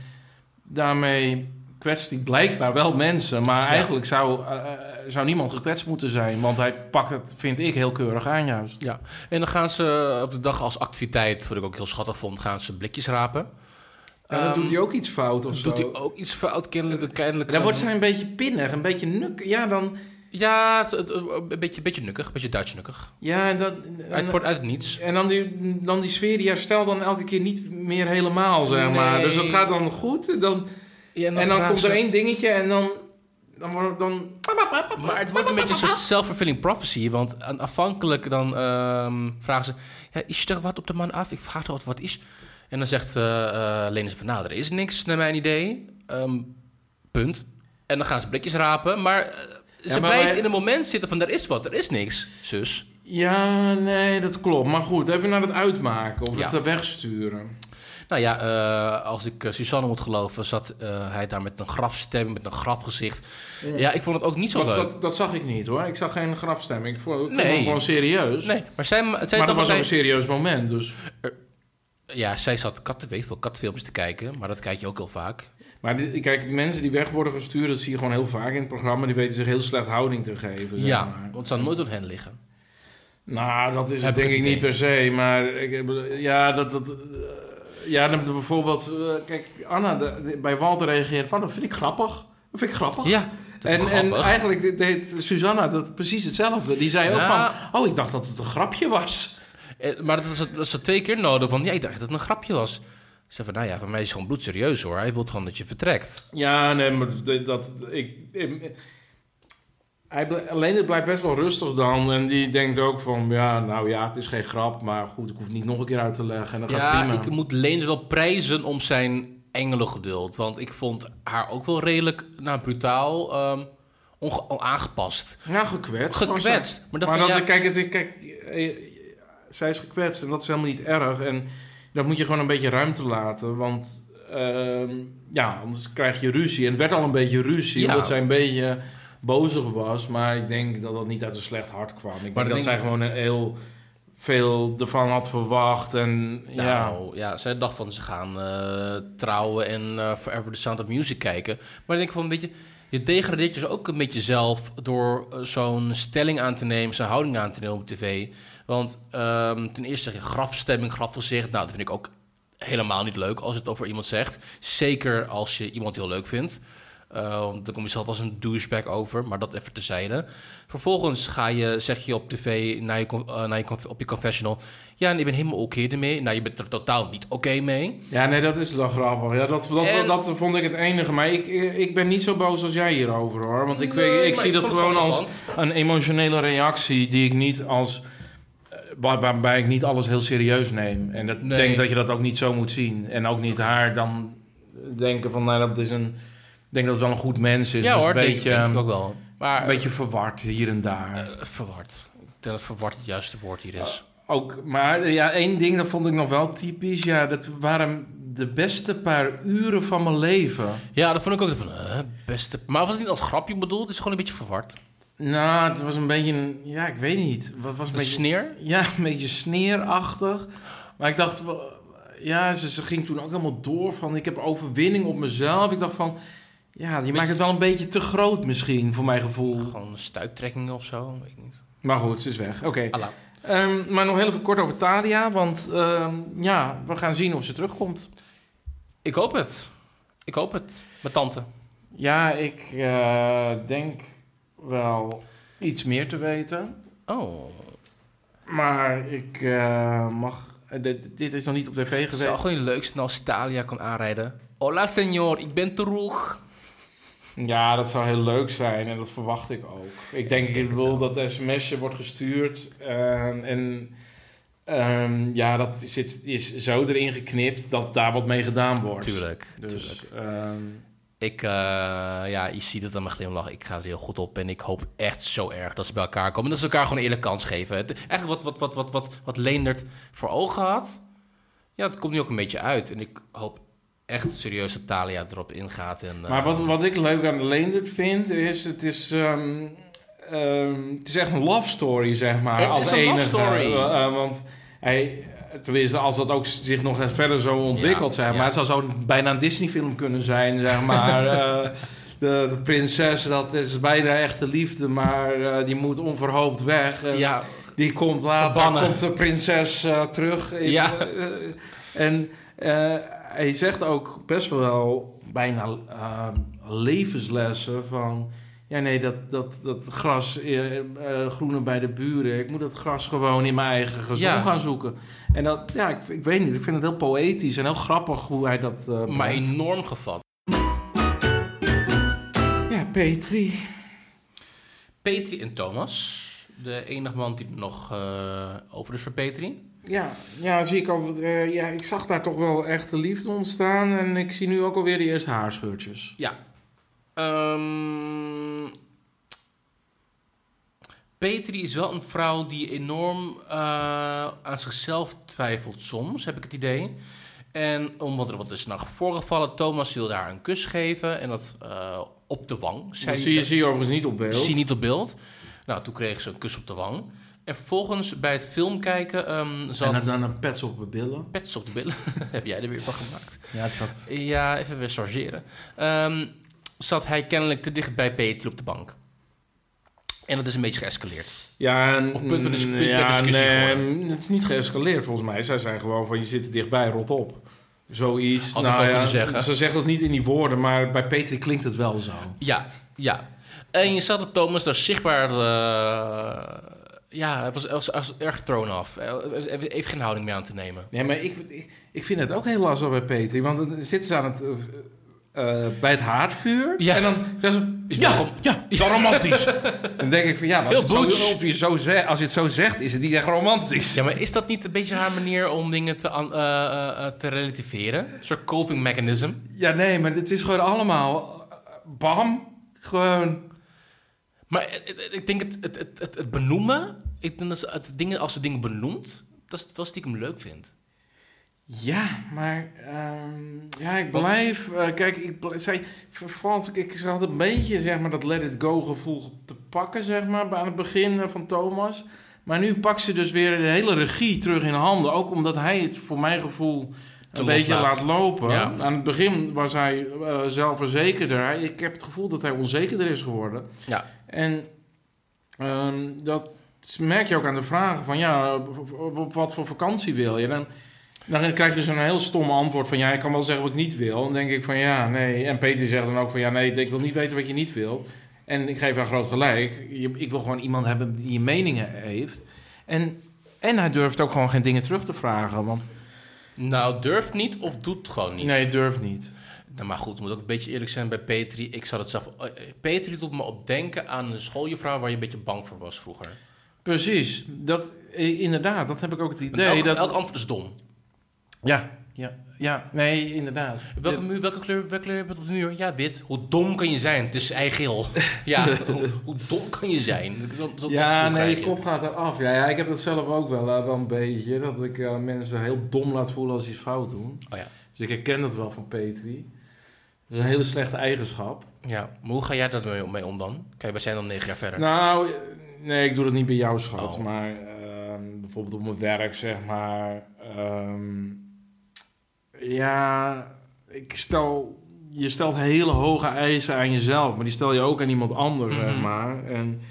daarmee kwetst hij blijkbaar wel mensen. Maar eigenlijk zou, eh, eh, zou niemand gekwetst moeten zijn. Want hij pakt het, vind ik, heel keurig aan juist.
Ja, en dan gaan ze op de dag als activiteit, wat ik ook heel schattig vond, gaan ze blikjes rapen. Ehm,
ook iets fout of
doet hij ook iets fout, kennelijk. dan kennelijk
Dan wordt zij een beetje pinnig, een beetje nuk. Ja, dan...
Ja, het, het- een beetje, beetje nukkig, een beetje Duits nukkig.
Ja, en dat,
Uit, voor, uit het niets.
En dan die, dan die sfeer die herstelt dan elke keer niet meer helemaal, zeg maar.
Nee.
Dus dat gaat dan goed. Dan,
Ja,
en dan
vragen
komt
ze-
er één dingetje en dan... dan, wordt- dan
Maar het wordt een beetje een soort self-fulfilling prophecy. Want aan- afhankelijk dan ehm, vragen ze... Ja, is er wat op de man af? Ik vraag toch wat is? En dan zegt eh eh Lene ze van... Nou, er is niks naar mijn idee. Ehm, punt. En dan gaan ze blikjes rapen. Maar eh, ze
Ja, maar
blijft
wij-
in een moment zitten van... Er is wat, er is niks, zus.
ja, nee, dat klopt. Maar goed, even naar het uitmaken of
Ja.
het eh, wegsturen.
Nou ja, eh, als ik eh, Suzanne moet geloven... zat eh, hij daar met een grafstem, met een grafgezicht. Ja, ik vond het ook niet zo
Dat,
leuk.
dat, dat zag ik niet, hoor. Ik zag geen grafstemming. Ik vond, ik vond
Nee.
het gewoon serieus.
Nee, maar zij, zij
maar dat
dacht
was ook
hij-
een serieus moment, dus...
Ja, zij zat katten, weet ik veel katfilms te kijken. Maar dat kijk je ook heel vaak.
Maar dit- kijk, mensen die weg worden gestuurd, dat zie je gewoon heel vaak in het programma. Die weten zich heel slecht houding te geven, zeg
Ja,
maar.
want het zou nooit op hen liggen.
Nou, dat is
Heb
het
ik
denk ik
het
niet
idee.
per se. Maar ik, heb- ja, dat... dat eh, ja, dan bijvoorbeeld... eh, kijk, Anna de- de- bij Walter reageert van... Dat vind ik grappig. Dat vind ik grappig.
Ja, dat
en,
en,
en eigenlijk deed Susanna dat precies hetzelfde. Die zei
Ja.
ook van... Oh, ik dacht dat het een grapje was.
Eh, maar dat was, dat ze twee keer nodig. Van, ja, ik dacht dat het een grapje was. Ze zei van, nou ja, voor mij is het gewoon bloedserieus hoor. Hij wil gewoon dat je vertrekt.
Ja, nee, maar dat... dat- ik, ik- hij, bl- alleen het blijft best wel rustig dan. En die denkt ook van... Ja, nou ja, het is geen grap. Maar goed, ik hoef het niet nog een keer uit te leggen. En dat gaat
Ja,
prima.
ik moet Leender wel prijzen om zijn engelengeduld. Want ik vond haar ook wel redelijk, nou, brutaal, ehm, onge- aangepast.
Ja, nou, gekwetst.
Gekwetst.
Gewoon zo. Maar
Maar dat
dat,
vind jij-
kijk, het, kijk, eh, eh, zij is gekwetst en dat is helemaal niet erg. En dat moet je gewoon een beetje ruimte laten. Want ehm, ja, anders krijg je ruzie. En het werd al een beetje ruzie,
Ja.
omdat zij een beetje bozig was. Maar ik denk dat dat niet uit een slecht hart kwam. Ik denk
dan
dat
denk
zij
ik-
gewoon een heel veel ervan had verwacht. En ja,
Nou, ja, zij dacht van ze gaan eh, trouwen en eh, Forever the Sound of Music kijken. Maar ik denk van, weet je, je degradeert dus ook een beetje zelf door eh, zo'n stelling aan te nemen, zo'n houding aan te nemen op tv. Want ehm, ten eerste zeg je grafstemming, grafgezicht. Nou, dat vind ik ook helemaal niet leuk als het over iemand zegt. Zeker als je iemand heel leuk vindt. Eh, want dan kom je zelf als een douchebag over, maar dat even terzijde. Vervolgens ga je, zeg je op tv, naar je, con- eh, naar je, conf- op je confessional... ja, en ik ben helemaal oké ermee. Nou, je bent er totaal niet oké mee.
ja nee, dat is wel grappig. Ja, dat, dat,
En-
dat vond ik het enige. Maar ik, ik ben niet zo boos als jij hierover hoor. Want ik,
Nee,
ik,
maar
zie dat
vond het
gewoon als...
frappant.
een emotionele reactie die ik niet als. eh, waar- waarbij ik niet alles heel serieus neem. En dat
Nee.
denk dat je dat ook niet zo moet zien. En ook niet haar dan denken van, nou, dat is een. Ik denk dat het wel een goed mens is.
Ja
maar
hoor,
is een
denk,
beetje,
denk ik ook wel. Maar
een beetje verward hier en daar.
eh, verward. Ik denk dat verward het juiste woord hier is.
Ook, maar eh, ja, één ding dat vond ik nog wel typisch. Ja, dat waren de beste paar uren van mijn leven.
Ja, dat vond ik ook van, eh, beste... Maar was het niet als grapje bedoeld? Het is gewoon een beetje verward.
Nou, het was een beetje, een- ja, ik weet niet. Wat was een
Een
beetje,
sneer?
ja, een beetje sneerachtig. Maar ik dacht, wel, ja, ze, ze ging toen ook helemaal door van, ik heb overwinning op mezelf. Ik dacht van, ja, je maakt het wel een beetje te groot misschien, voor mijn gevoel.
Gewoon een stuiptrekking of zo, weet ik niet.
Maar goed, ze is weg. Oké.
Alla.
Ehm, maar nog heel even kort over Talia, want ehm, ja, we gaan zien of ze terugkomt.
Ik hoop het. Ik hoop het. Mijn tante.
Ja, ik eh, denk wel iets meer te weten.
Oh.
Maar ik eh, mag... eh, Dit, dit is nog niet op tv
Het zou
geweest.
gewoon leuk zijn als Talia kan aanrijden. Hola, senor. Ik ben terug.
Ja, dat zou heel leuk zijn en dat verwacht ik ook. Ik denk, ik,
denk het
wil
ook.
dat sms'je wordt gestuurd ehm, en... ehm, ja, dat zit, is zo erin geknipt dat daar wat mee gedaan wordt.
Tuurlijk, tuurlijk.
Dus, ehm,
Ik, eh, ja, je ziet het aan mijn glimlach. Ik ga er heel goed op en ik hoop echt zo erg dat ze bij elkaar komen. En dat ze elkaar gewoon een eerlijke kans geven. Het- Eigenlijk wat, wat, wat, wat, wat, wat Leendert voor ogen had, ja, dat komt nu ook een beetje uit. En ik hoop echt serieus dat Talia erop ingaat. En, eh,
Maar wat, wat ik leuk aan Leendert vind, is het is, ehm, ehm, het is echt een love story, zeg maar.
Het is
als
een love
enige.
story.
Eh, eh, want hij, tenminste, als dat ook zich nog eens verder zo ontwikkelt,
Ja,
zeg maar.
ja.
Het zou zo bijna een Disney-film kunnen zijn, zeg
*laughs*
maar. Eh, de, de prinses, dat is bijna echte liefde, maar eh, die moet onverhoopt weg. En
ja,
Die komt later,
Verbannen.
komt de prinses eh, terug. in-
Ja.
eh, en eh, hij zegt ook best wel bijna eh, levenslessen van... Ja, nee, dat, dat, dat gras eh, eh, groener bij de buren. Ik moet dat gras gewoon in mijn eigen gezond
Ja.
gaan zoeken. En dat, ja, ik, ik weet niet. Ik vind het heel poëtisch en heel grappig hoe hij dat... eh,
maar
brengt.
enorm gevat.
Ja, Petri.
Petri en Thomas. De enige man die er nog eh, over is voor Petri.
Ja, ja, zie ik al, eh, ja, ik zag daar toch wel echte liefde ontstaan. En ik zie nu ook alweer de eerste haarscheurtjes.
Ehm, Petri is wel een vrouw die enorm eh, aan zichzelf twijfelt soms, heb ik het idee. En omdat er wat is nacht voorgevallen, Thomas wilde haar een kus geven en dat eh, op de wang. zei
Dat
hij.
Dus zie je, zie je overigens niet op beeld.
Zie niet op beeld. Nou, toen kreeg ze een kus op de wang. En vervolgens bij het film kijken ehm zat...
En dan een pets op mijn billen.
Pets op de billen. *laughs* heb jij er weer van gemaakt?
Ja, het zat...
Ja, even weer chargeren. Ehm, zat hij kennelijk te dicht bij Peter op de bank. En dat is een beetje geëscaleerd.
Ja, en,
Of punt van dis-
mm,
punt ter
ja,
discussie
nee,
geworden.
mm, Het is niet geëscaleerd volgens mij. Zij zijn gewoon van, je zit er dichtbij, rot op. Zoiets. nou
Had ik ook kunnen zeggen.
Ze zeggen dat niet in die woorden, maar bij Petri klinkt het wel zo.
Ja, ja. En je zag dat Thomas daar zichtbaar... eh, ja, hij was, hij was, hij was erg thrown af. Hij heeft- heeft geen houding meer aan te nemen.
Nee, maar ik, ik, ik vind het ook heel lastig bij Petri. Want dan zitten ze aan het, eh, eh, bij het haardvuur.
Ja.
En dan zeggen ze,
Is
ja,
wel-
ja, is wel romantisch. dan denk ik van, ja, maar als,
Heel
het zo,
butch.
op je zo zegt, als je het zo zegt, is het niet echt romantisch.
*laughs* Ja, maar is dat niet een beetje haar manier om dingen te, an- eh, eh, eh, te relativeren? Een soort coping mechanism.
Ja, nee, maar dit is gewoon allemaal eh, bam. Gewoon.
Maar het- het- het- ik denk het, het, het, het, het benoemen... Ik denk dat ze het dingen, als ze dingen benoemt... dat ze het wel stiekem leuk vindt.
Ja, maar ehm, ja, ik blijf. eh, kijk, ik, bl- zij vervalt. Ik ze had een beetje zeg maar, dat let it go gevoel te pakken, zeg maar, bij- aan het begin eh, van Thomas. Maar nu pakt ze dus weer de hele regie terug in handen. Ook omdat hij het voor mijn gevoel een
Te
beetje
loslaat.
laat lopen.
Ja.
Aan het begin was hij eh, zelfverzekerder. Hij- Ik heb het gevoel dat hij onzekerder is geworden.
Ja.
En ehm, dat merk je ook aan de vragen van ja, op- op op wat voor vakantie wil je? Dan, dan krijg je dus een heel stom antwoord van ja, ik kan wel zeggen wat ik niet wil. Dan denk ik van ja, nee. En Peter zegt dan ook van ja, nee, ik wil niet weten wat je niet wil. En ik geef haar groot gelijk. Je- ik wil gewoon iemand hebben die je meningen heeft. En, en hij durft ook gewoon geen dingen terug te vragen. Want
Nou, durft niet of doet gewoon niet.
nee, hij durft niet.
Nou, maar goed, moet ook een beetje eerlijk zijn bij Petri. Ik zou het zelf... eh, eh, Petri doet me op denken aan een schooljevrouw waar je een beetje bang voor was vroeger.
Precies. Dat, eh, inderdaad, dat heb ik ook het
Nee,
idee.
elk,
dat,
elk antwoord is dom.
Ja, Ja, ja nee, inderdaad.
Welke, muur, welke kleur, welke kleur heb je op de muur? Ja, wit. Hoe dom kan je zijn? Het
*laughs*
is eigeel. Ja, hoe, hoe dom kan je zijn? Zo- zo-
ja,
dat gevoel
nee,
krijg
je kop gaat eraf. Ja, ja, ik heb dat zelf ook wel, eh, wel een beetje. Dat ik eh, mensen heel dom laat voelen als ze iets fout doen.
Oh ja.
Dus ik herken dat wel van Petri. Dat is een hele slechte eigenschap.
Ja, maar hoe ga jij daar mee om, mee om dan? Kijk, wij zijn dan negen jaar verder.
Nou, eh, nee, ik doe dat niet bij jou, schat.
Oh.
Maar ehm, bijvoorbeeld op mijn werk, zeg maar. ehm, ja, ik stel... Je stelt hele hoge eisen aan jezelf, maar die stel je ook aan iemand anders, zeg
Mhm.
maar. En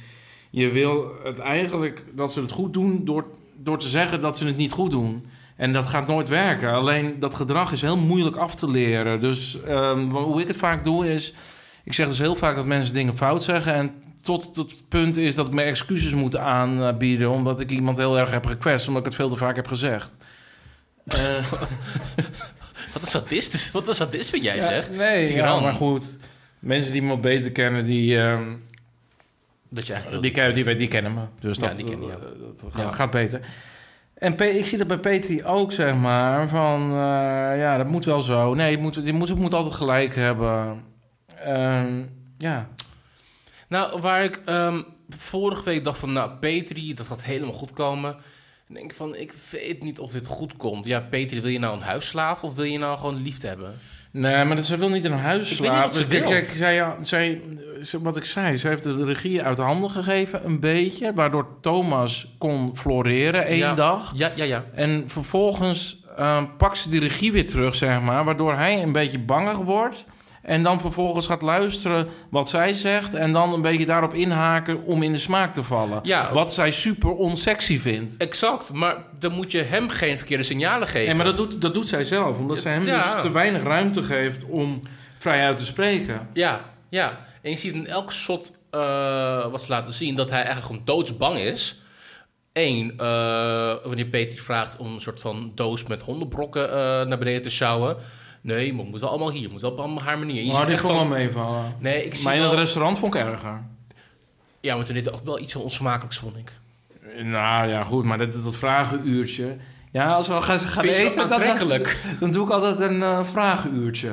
je wil het eigenlijk dat ze het goed doen door, door te zeggen dat ze het niet goed doen. En dat gaat nooit werken. Alleen dat gedrag is heel moeilijk af te leren. Dus ehm, wa- hoe ik het vaak doe is... Ik zeg dus heel vaak dat mensen dingen fout zeggen. En tot, tot het punt is dat ik me excuses moet aanbieden... omdat ik iemand heel erg heb gekwetst. Omdat ik het veel te vaak heb gezegd. Eh,
*laughs* Wat een sadist. Wat een sadist ben jij,
ja,
zeg.
Nee, ja,
Tiran.
maar goed. Mensen die me wat beter kennen, die, ehm,
Dat je eigenlijk
die, ken- die, die kennen me. Dus
Ja,
dat,
die kennen je.
eh, dat gaat,
Ja.
gaat beter. En Pe- ik zie dat bij Petri ook, zeg maar. Van, eh, ja, dat moet wel zo. Nee, het moet, die moet, het moet altijd gelijk hebben. Ehm, ja.
Nou, waar ik ehm, vorige week dacht van, nou, Petri, dat gaat helemaal goed komen. Dan denk ik van, ik weet niet of dit goed komt. Ja, Petri, wil je nou een huisslaaf of wil je nou gewoon liefde hebben?
Nee, maar dat ze wil niet in huis
Ik weet niet wat
slapen.
ze
Kijk,
wil.
kijk, zij, ja, zij, ze- wat ik zei, ze heeft de regie uit de handen gegeven, een beetje. Waardoor Thomas kon floreren één
Ja.
dag.
Ja, ja, ja.
En vervolgens eh pakt ze die regie weer terug, zeg maar. Waardoor hij een beetje bangig wordt. En dan vervolgens gaat luisteren wat zij zegt. En dan een beetje daarop inhaken om in de smaak te vallen.
Ja.
Wat zij super onsexy vindt.
Exact, maar dan moet je hem geen verkeerde signalen geven.
Nee, maar dat doet, dat doet zij zelf. Omdat zij hem
Ja.
dus te weinig ruimte geeft om vrij uit te spreken.
Ja, ja. En je ziet in elk shot eh, wat ze laten zien dat hij eigenlijk gewoon doodsbang is. Eén, eh, wanneer Peter vraagt om een soort van doos met hondenbrokken eh, naar beneden te sjouwen. Nee, maar we moeten allemaal hier, we moeten allemaal op haar manier. En je
Maar
ziet
die
echt
vond wel
van-
meevallen.
Nee, ik zie
Maar in
wel-
het restaurant vond ik erger.
Ja, maar toen deed hij ook wel iets heel onsmakelijks, vond ik.
Nou ja, goed, maar dat, dat vragenuurtje. Ja, als we gaan, gaan
Vind je het
eten,
wel
dan, dan,
aantrekkelijk?
dan doe ik altijd een eh, vragenuurtje.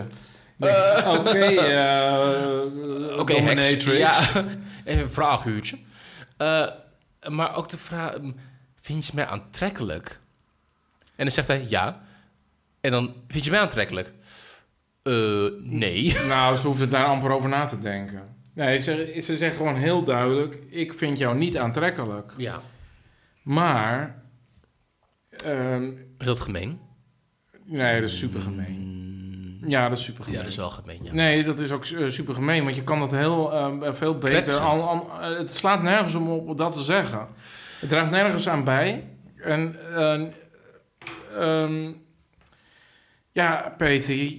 Denk ik,
*laughs*
Oké, eh
Oké, heks. Ja, *laughs* even een vraaghuurtje. Eh, maar ook de vraag, ehm, vind je mij aantrekkelijk? En dan zegt hij ja. En dan, vind je mij aantrekkelijk? Eh, nee.
Nou, ze hoeft er daar amper over na te denken. Nee, ze, ze zegt gewoon heel duidelijk: ik vind jou niet aantrekkelijk.
Ja.
Maar, ehm,
Is dat gemeen?
nee, dat is super gemeen.
Mm,
Ja, dat is super
Ja,
gemeen.
dat is wel gemeen, ja.
Nee, dat is ook super gemeen, want je kan dat heel eh, veel beter.
Kwetsend.
Al, al- eh, het slaat nergens om op dat te zeggen. Het draagt nergens aan bij. En en, ehm, ja, Peter,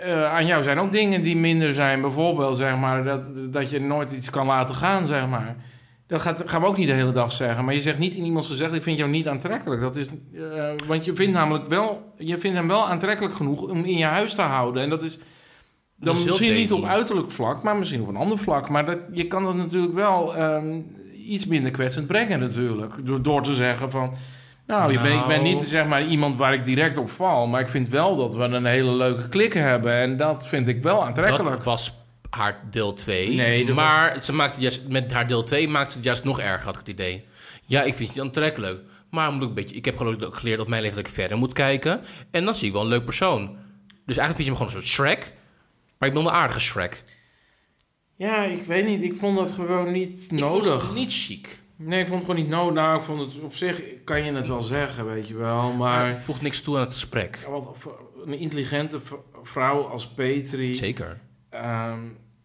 eh, aan jou zijn ook dingen die minder zijn. Bijvoorbeeld, zeg maar, dat, dat je nooit iets kan laten gaan, zeg maar. Dat gaat, gaan we ook niet de hele dag zeggen. Maar je zegt niet in iemands gezegd: Ik vind jou niet aantrekkelijk. Dat is, eh, want je vindt, namelijk wel, je vindt hem wel aantrekkelijk genoeg om in je huis te houden. En dat is dan
Dat is heel
misschien niet op
dating.
uiterlijk vlak, maar misschien op een ander vlak. Maar dat, je kan dat natuurlijk wel ehm, iets minder kwetsend brengen, natuurlijk. Door, door te zeggen van. Nou, je bent- ik ben
Nou.
niet zeg maar, iemand waar ik direct op val. Maar ik vind wel dat we een hele leuke klik hebben. En dat vind ik wel aantrekkelijk.
Dat was haar deel 2.
Nee, dat
maar ze maakte het juist, met haar deel 2 maakte ze het juist nog erger, had ik het idee. Ja, ik vind het niet aantrekkelijk. Maar moet ik, een beetje, ik heb gelukkig ook geleerd op mijn leven dat ik verder moet kijken. En dan zie ik wel een leuk persoon. Dus eigenlijk vind je hem gewoon een soort Shrek. Maar ik ben wel een aardige Shrek.
Ja, ik weet niet. Ik vond dat gewoon niet
Ik vond
nodig.
het niet chic.
Nee, ik vond het gewoon niet nodig. Nou, ik vond het op zich kan je het wel zeggen, weet je wel.
Maar
Maar
het voegt niks toe aan het gesprek.
wat voor een intelligente v- vrouw als Petri,
Zeker.
ehm,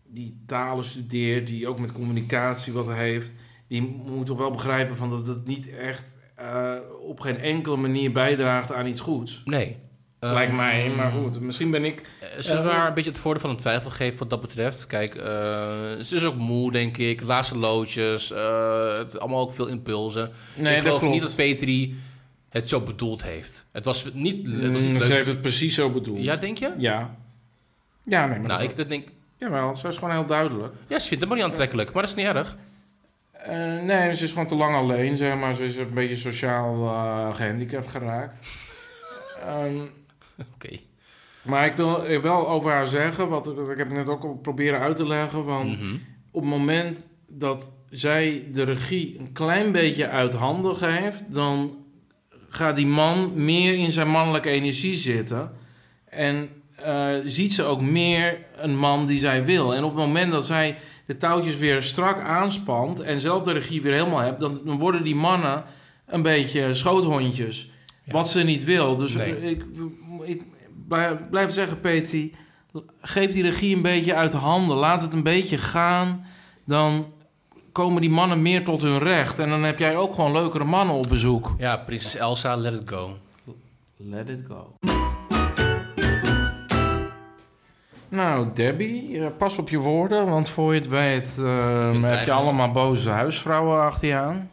die talen studeert, die ook met communicatie wat heeft, die moet toch wel begrijpen van dat het niet echt eh, op geen enkele manier bijdraagt aan iets goeds.
Nee.
Lijkt
Ehm,
mij, maar goed, misschien ben ik.
Eh, Zullen we
Eh,
haar een beetje het voordeel van de twijfel geven wat dat betreft? Kijk, eh, ze is ook moe, denk ik. Laatste loodjes. eh, het, allemaal ook veel impulsen.
Nee,
ik
dat
geloof
klopt.
niet dat Petri het zo bedoeld heeft. Het was niet... Het was
Mm,
niet
ze
leuk.
heeft het precies zo bedoeld.
Ja, denk je?
Ja. Ja, nee, maar
Nou,
dat-
ik dat denk...
Jawel, ze is gewoon heel duidelijk.
Ja, ze vindt hem wel niet aantrekkelijk, maar dat is niet erg.
Eh, nee, ze is gewoon te lang alleen,
*laughs*
zeg maar. Ze is een beetje sociaal eh, gehandicapt geraakt. Ehm,
Oké.
Maar ik wil er wel over haar zeggen, wat ik, ik heb het net ook al proberen uit te leggen. Want
Mhm.
op het moment dat zij de regie een klein beetje uit handen geeft, dan gaat die man meer in zijn mannelijke energie zitten. En eh, ziet ze ook meer een man die zij wil. En op het moment dat zij de touwtjes weer strak aanspant en zelf de regie weer helemaal hebt, dan, dan worden die mannen een beetje schoothondjes.
Ja.
Wat ze niet wil. Dus
Nee.
ik, ik blij- blijf zeggen, Petri, geef die regie een beetje uit de handen. Laat het een beetje gaan. Dan komen die mannen meer tot hun recht. En dan heb jij ook gewoon leukere mannen op bezoek.
Ja, prinses Elsa, let it go.
Let it go. Nou, Debbie, eh, pas op je woorden, want voor je het weet eh, heb
krijgen
je
we-
allemaal boze huisvrouwen achter je aan.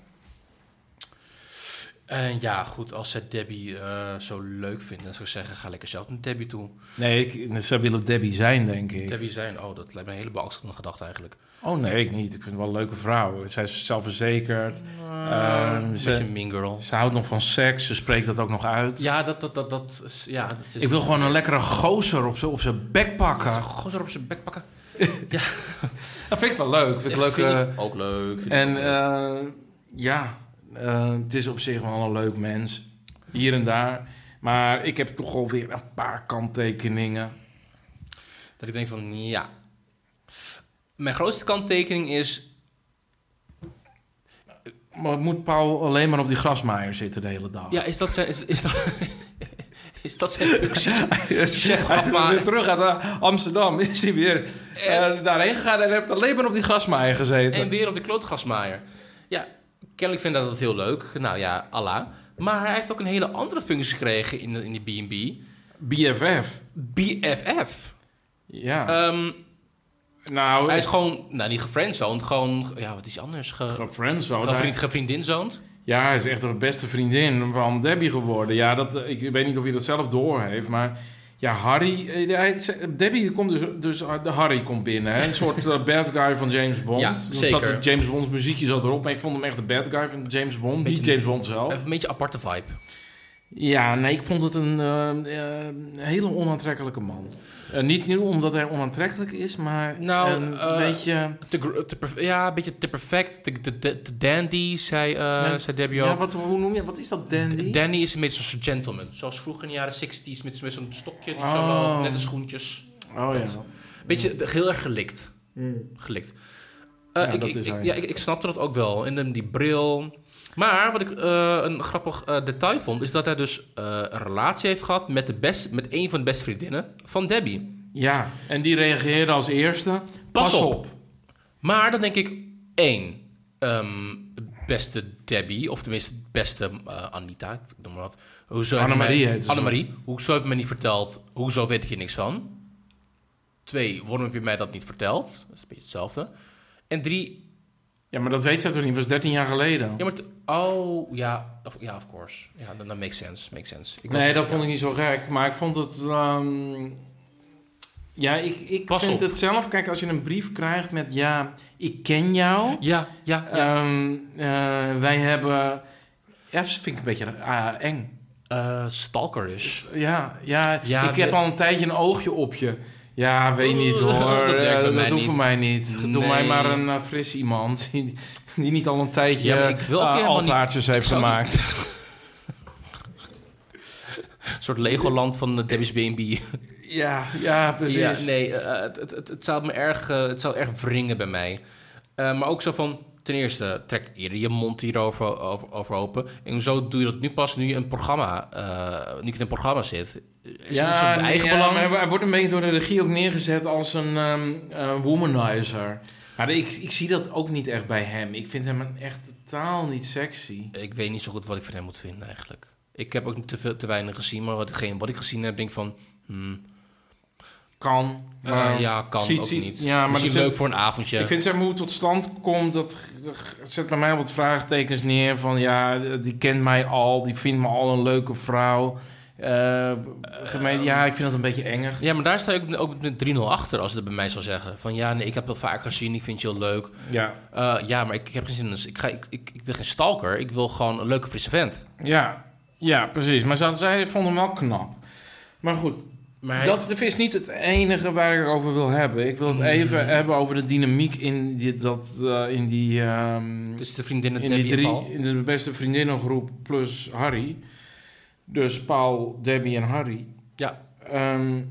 En ja, goed, als ze Debbie eh, zo leuk vinden, dan zou ik zeggen, ga lekker zelf naar Debbie toe.
Nee, ik, ze willen Debbie zijn, denk ik.
Debbie zijn, oh, dat lijkt me een hele beangstigende gedachte eigenlijk.
Oh nee, ik niet. Ik vind het wel een leuke vrouw. Zij is zelfverzekerd.
Eh, een
Ehm, ze-
beetje een mean girl.
Ze houdt nog van seks. Ze spreekt dat ook nog uit.
Ja, dat, dat, dat, dat, is- ja, dat is...
Ik wil gewoon een lekkere gozer op z'n- op zijn bek pakken.
Gozer op zijn bek pakken.
Dat vind ik wel leuk. Vind ik
Ja,
leuk.
vind
eh,
ik ook leuk. vind ik
En
ook leuk.
eh, ja, eh, het is op zich wel een leuk mens. Hier en daar. Maar ik heb toch alweer een paar kanttekeningen.
Dat ik denk van, ja. Mijn grootste kanttekening is...
Maar moet Paul alleen maar op die grasmaaier zitten de hele dag? *laughs*
Ja, is dat zijn... Is, is dat, *laughs* is dat zijn functie?
Chef
grasmaaier.
weer terug uit eh, Amsterdam *laughs* is hij weer eh, daarheen gegaan en heeft alleen maar op die grasmaaier gezeten.
En weer op de klootgasmaaier. Ja, kennelijk vindt dat dat heel leuk. Nou ja, Allah. Maar hij heeft ook een hele andere functie gekregen in, de- in die B&B.
BFF.
BFF.
Ja.
Ehm,
Oh, nou,
hij is
is
gewoon, nou niet gefriendzoned, gewoon, ja wat is anders? Ge,
gefriendzoned.
gevriend,
Oh.
gevriendinzoned.
Ja, hij is echt de beste vriendin van Debbie geworden. Ja, dat, eh, ik weet niet of je dat zelf doorheeft, maar... Ja, Harry... eh, hij- Debbie komt dus... dus eh, de Harry komt binnen, hè? Een soort eh, bad guy van James Bond.
Ja,
Dan
zeker.
Zat, er- James Bond's muziekje zat erop, maar ik vond hem echt de bad guy van James Bond.
Beetje
Niet James Bond zelf.
Even een beetje aparte vibe.
Ja, nee, ik vond het een eh, eh, hele onaantrekkelijke man. Eh, niet nu omdat hij onaantrekkelijk is, maar
Nou,
een
eh,
beetje...
Te, gr- te perf- ja, een beetje te perfect, te, te, te- te dandy, zei, eh,
Nee,
zei Debbie
Ja,
ook.
wat, hoe noem je Wat is dat, Dandy?
Danny is een beetje zo'n gentleman. Zoals vroeger in de jaren 60s met, met zo'n stokje, die zo
Oh.
loopt, nette schoentjes.
oh
dat.
ja.
Beetje de- heel erg gelikt.
Mm.
gelikt.
Ja,
Eh, ik,
dat
ik,
is
ik-
hij.
ja, ik, ik snapte dat ook wel. En dan die bril. Maar wat ik eh, een grappig eh, detail vond, is dat hij dus eh, een relatie heeft gehad met, de best, met een van de beste vriendinnen van Debbie.
Ja, en die reageerde als eerste.
Pas op. Maar dan denk ik, één, ehm, beste Debbie, of tenminste beste eh, Anita, ik noem maar wat. Hoezo heeft
Annemarie
mij-
heette ze.
Annemarie, hoezo heb je me niet verteld? Hoezo weet ik hier niks van? Twee, waarom heb je mij dat niet verteld? Dat is een beetje hetzelfde. En drie,
Ja, maar dat weet zij toch niet? Dat was 13 jaar geleden.
Ja, maar... t- Oh, ja. Of, ja, of course. Ja, dan, dan makes sense. Makes sense. Ik was-
nee, dat
ja.
vond ik niet zo gek. Maar ik vond het... ehm, Ja, ik, ik
Pas
vind
op.
het zelf... Kijk, als je een brief krijgt met... Ja, ik ken jou.
Ja, ja, ja.
Ehm, eh, wij hebben... Ja, dat vind ik een beetje ah, eng.
Eh, stalkerish.
Ja, ja,
Ja,
ik
we-
heb al een tijdje een oogje op je. Ja, weet niet hoor.
Oeh, dat werkt bij
Eh, dat
mij
hoeft
niet.
voor mij niet. Doe
Nee.
mij maar een eh, fris iemand *laughs* die, die niet al een tijdje
Ja, maar
eh,
ik wil ook
eh,
helemaal niet-
altaartjes heeft
Ik zou-
gemaakt.
Een soort Legoland van de Debbie's B&B.
Ja, ja, precies.
*laughs* Ja, nee, eh, eh, het, het, het, het zou me erg, eh, het zou erg wringen bij mij. Eh, maar ook zo van... Ten eerste, trek eerder je mond hierover over, over open. En zo doe je dat nu pas, nu je een programma, eh, nu ik in een programma zit. Is
Ja,
dat zo'n
nee,
eigen
ja,
belang?
maar hij wordt een beetje door de regie ook neergezet als een ehm, eh, womanizer. Maar ik, ik zie dat ook niet echt bij hem. Ik vind hem echt totaal niet sexy.
Ik weet niet zo goed wat ik van hem moet vinden eigenlijk. Ik heb ook te, veel, te weinig gezien, maar wat, hetgeen wat ik gezien heb, denk ik van... hmm,
Kan.
eh,
maar-
ja, kan
ziet-
ook
ziet-
niet.
ja, maar
Misschien
er zit-
leuk voor een avondje.
Ik vind zeg maar hoe het tot stand komt, dat dat zet bij mij wat vraagtekens neer. Van ja, die kent mij al, die vindt me al een leuke vrouw. Eh,
Ehm.
gemeen, ja, ik vind dat een beetje enger.
Ja, maar daar sta ik ook met 3-0 achter, als het bij mij zou zeggen. Van ja, nee, ik heb dat vaak gezien, ik vind je heel leuk.
Ja.
Eh, ja, maar ik, ik heb geen zin in... een- Ik, ga, ik, ik, ik wil geen stalker, ik wil gewoon een leuke frisse vent.
Ja, ja precies. Maar zij, zij vond hem wel knap. Maar goed,
Maar hij heeft-
dat is niet het enige waar ik over wil hebben. Ik wil het
Mm.
even hebben over de dynamiek in die, dat, eh, in die, ehm,
dus de vriendinnen
in
Debbie
die
en
drie,
Paul.
in de beste vriendinnengroep plus Harry. Dus Paul, Debbie en Harry.
Ja.
Ehm,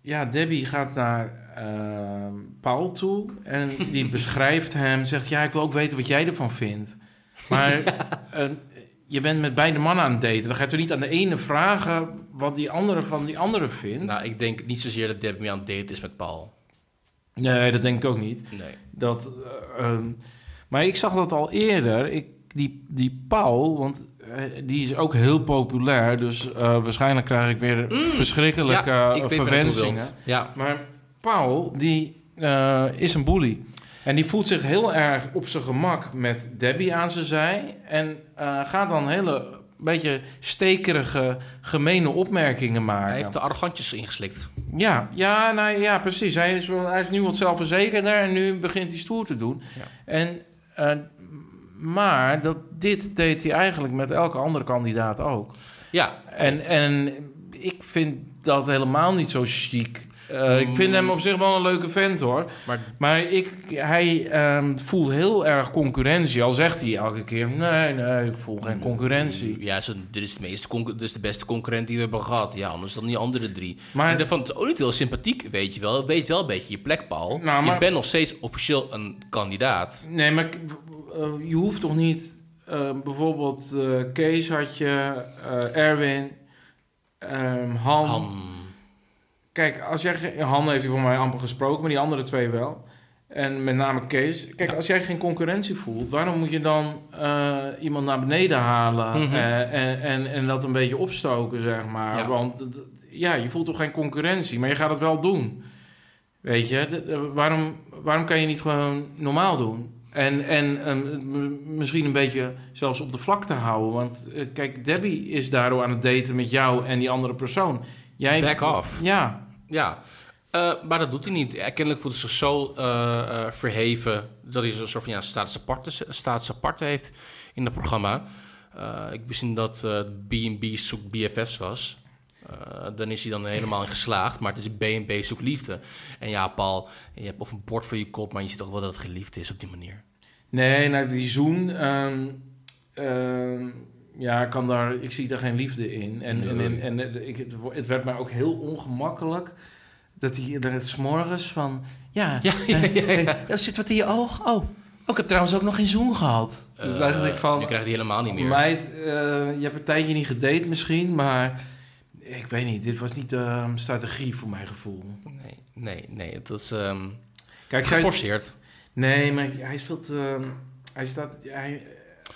ja, Debbie gaat naar ehm, Paul toe en
*laughs*
die beschrijft hem, zegt ja, ik wil ook weten wat jij ervan vindt.
*laughs*
Maar eh, je bent met beide mannen aan het daten. Dan gaat u niet aan de ene vragen wat die andere van die andere vindt.
Nou, ik denk niet zozeer dat Debbie aan het daten is met Paul.
Nee, dat denk ik ook niet.
Nee.
Dat, eh, ehm, maar ik zag dat al eerder. Ik, die, die Paul, want eh, die is ook heel populair. Dus eh, waarschijnlijk krijg ik weer verschrikkelijke
Mm. ja,
eh,
ik weet waar je naartoe
verwensingen.
wilt. Ja.
Maar Paul, die eh, is een bully. En die voelt zich heel erg op zijn gemak met Debbie aan zijn zij. En eh, gaat dan hele beetje stekerige, gemene opmerkingen maken.
Hij heeft de arrogantjes ingeslikt.
Ja, ja, nou, ja precies. Hij is, wel, hij is nu wat zelfverzekerder en nu begint hij stoer te doen.
Ja.
En, eh, maar dat, dit deed hij eigenlijk met elke andere kandidaat ook.
Ja,
En, en ik vind dat helemaal niet zo chic. Eh, ik vind hem op zich wel een leuke vent hoor.
maar
Maar ik, hij ehm, voelt heel erg concurrentie. Al zegt hij elke keer: nee, nee, ik voel geen concurrentie.
Mm, ja, zo, dit, is de meest concu- dit is de beste concurrent die we hebben gehad. Ja, anders dan die andere drie.
Maar-
Maar daarvan is ook niet heel sympathiek, weet je wel. Weet wel een beetje je plek, Paul.
Nou, maar-
Je bent nog steeds officieel een kandidaat.
Nee, maar k- w- eh, je hoeft toch niet... eh, bijvoorbeeld eh, Kees had je, eh, Erwin, ehm, Han.
Han.
Kijk, als jij... ge- Han heeft hij voor mij amper gesproken, maar die andere twee wel. En met name Kees. Kijk, als jij geen concurrentie voelt... waarom moet je dan eh, iemand naar beneden halen...
Mhm.
eh, en, en, en dat een beetje opstoken, zeg maar?
Ja.
Want d- d- ja, je voelt toch geen concurrentie, maar je gaat het wel doen. Weet je, d- d- waarom, waarom kan je niet gewoon normaal doen? En, en ehm, m- misschien een beetje zelfs op de vlakte houden. Want eh, kijk, Debbie is daardoor aan het daten met jou en die andere persoon. Jij,
Back off.
Ja,
Ja, Eh, maar dat doet hij niet. Ja, kennelijk voelt hij zich zo eh, eh, verheven dat hij zo'n soort van ja, status, aparte, status aparte heeft in het programma. Eh, ik wist niet dat eh, B&B zoekt BFF's was. Eh, dan is hij dan helemaal in geslaagd, maar het is B&B zoekt liefde. En ja, Paul, je hebt of een bord voor je kop, maar je ziet toch wel dat het geliefd is op die manier. *laughs*
nee, nou, die zoen... ehm, ehm, ja, ik kan daar, ik zie daar geen liefde in. En, en, en, en het- ik, het wo- het werd mij ook heel ongemakkelijk... dat hij er s morgens van... Ja,
Ja, *laughs* ja, ja, ja.
eh, er zit wat in je oog. Oh, oh, ik heb trouwens ook nog geen zoen gehad.
Eh,
Toen dacht ik Dus van...
nu krijgt hij helemaal niet meer.
Meid, eh, je hebt een tijdje niet gedate misschien, maar ik weet niet. Dit was niet de ehm, strategie voor mijn gevoel.
Nee, nee, nee, het is ehm
Kijk, zij,
geforceerd.
nee, maar hij is veel te... ehm, hij staat... Hij,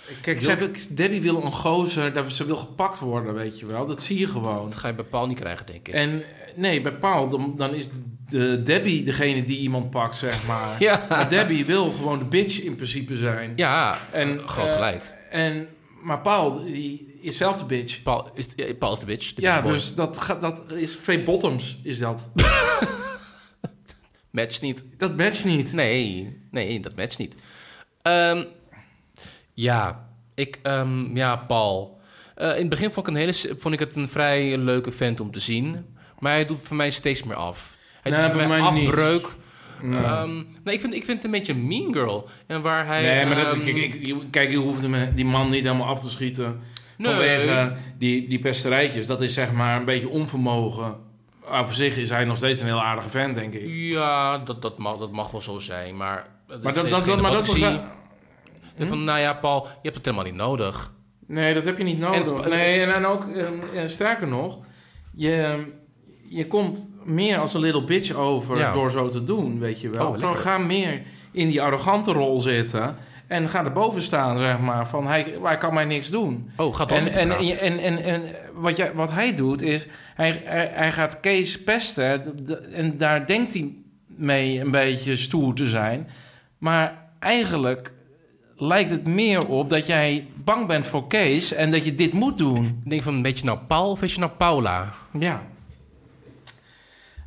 eh, kijk, zij
Wilt-
wil- Debbie wil een gozer, dat ze wil gepakt worden, weet je wel. Dat zie je gewoon.
Dat ga je bij Paul niet krijgen, denk ik.
En eh, nee, bij Paul, dan, dan is de Debbie degene die iemand pakt, zeg maar.
ja,
Maar Debbie wil gewoon de bitch in principe zijn.
ja,
En,
groot
eh,
gelijk.
En, maar Paul, die is zelf de bitch.
Paul is, eh, Paul is de bitch. de
Ja,
bitch boy.
dus dat, gaat- dat is twee bottoms, is dat.
Matcht niet.
Dat matcht niet.
Nee, nee, dat matcht niet. Ehm, ja, ik, ehm, ja, Paul. Eh, in het begin vond ik, een hele, s- vond ik het een vrij leuke vent om te zien. Maar hij doet voor mij steeds meer af. Hij
Nee,
doet voor
bij
mij
mij niet.
afbreuk.
Nee.
Ehm, nee, ik, vind, ik vind het een beetje een mean girl. En waar hij...
Nee, maar dat,
ehm,
kijk, ik, je- kijk, je hoeft hem, die man niet helemaal af te schieten.
nee,
Vanwege die, die pesterijtjes. Dat is zeg maar een beetje onvermogen. Op zich is hij nog steeds een heel aardige fan, denk ik.
Ja, dat, dat, mag, dat mag wel zo zijn. Maar, het
Maar
is
dat, dat,
hetgene
maar
wat
dat Hm?
ik zie.
begrijp-
Van, nou ja, Paul, je hebt het helemaal niet nodig.
Nee, dat heb je niet nodig.
En-
nee, en, en ook, eh, eh, sterker nog, je, je komt meer als een little bitch over
Ja.
door zo te doen, weet je wel.
Oh,
Dan
lekker.
ga meer in die arrogante rol zitten en ga erboven staan, zeg maar, van hij, hij kan mij niks doen.
Oh, gaat dan
En,
met je
en,
praten.
en, en, en, en wat, jij, wat hij doet is, hij, hij, hij gaat Kees pesten d- d- en daar denkt hij mee een beetje stoer te zijn. Maar eigenlijk lijkt het meer op dat jij bang bent voor Kees en dat je dit moet doen.
Ik denk van, weet je nou Paul of weet je nou Paula?
Ja.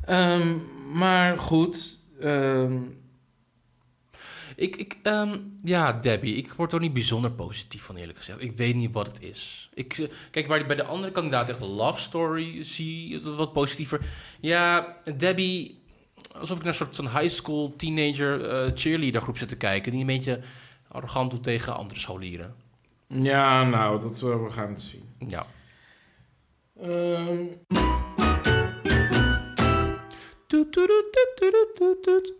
Ehm, maar goed, ehm,
Ik, ik, ehm, ja, Debbie, ik word er niet bijzonder positief van, eerlijk gezegd. Ik weet niet wat het is. Ik, eh, kijk, waar ik bij de andere kandidaat echt love story zie, eh, wat positiever. Ja, Debbie, alsof ik naar een soort van high school teenager eh cheerleader groep zit te kijken. Die een beetje arrogant doet tegen andere scholieren.
Ja, nou, dat, eh, we gaan het zien.
Ja.
Ehm,
Toet, toet, toet, toet, toet, toet, toet.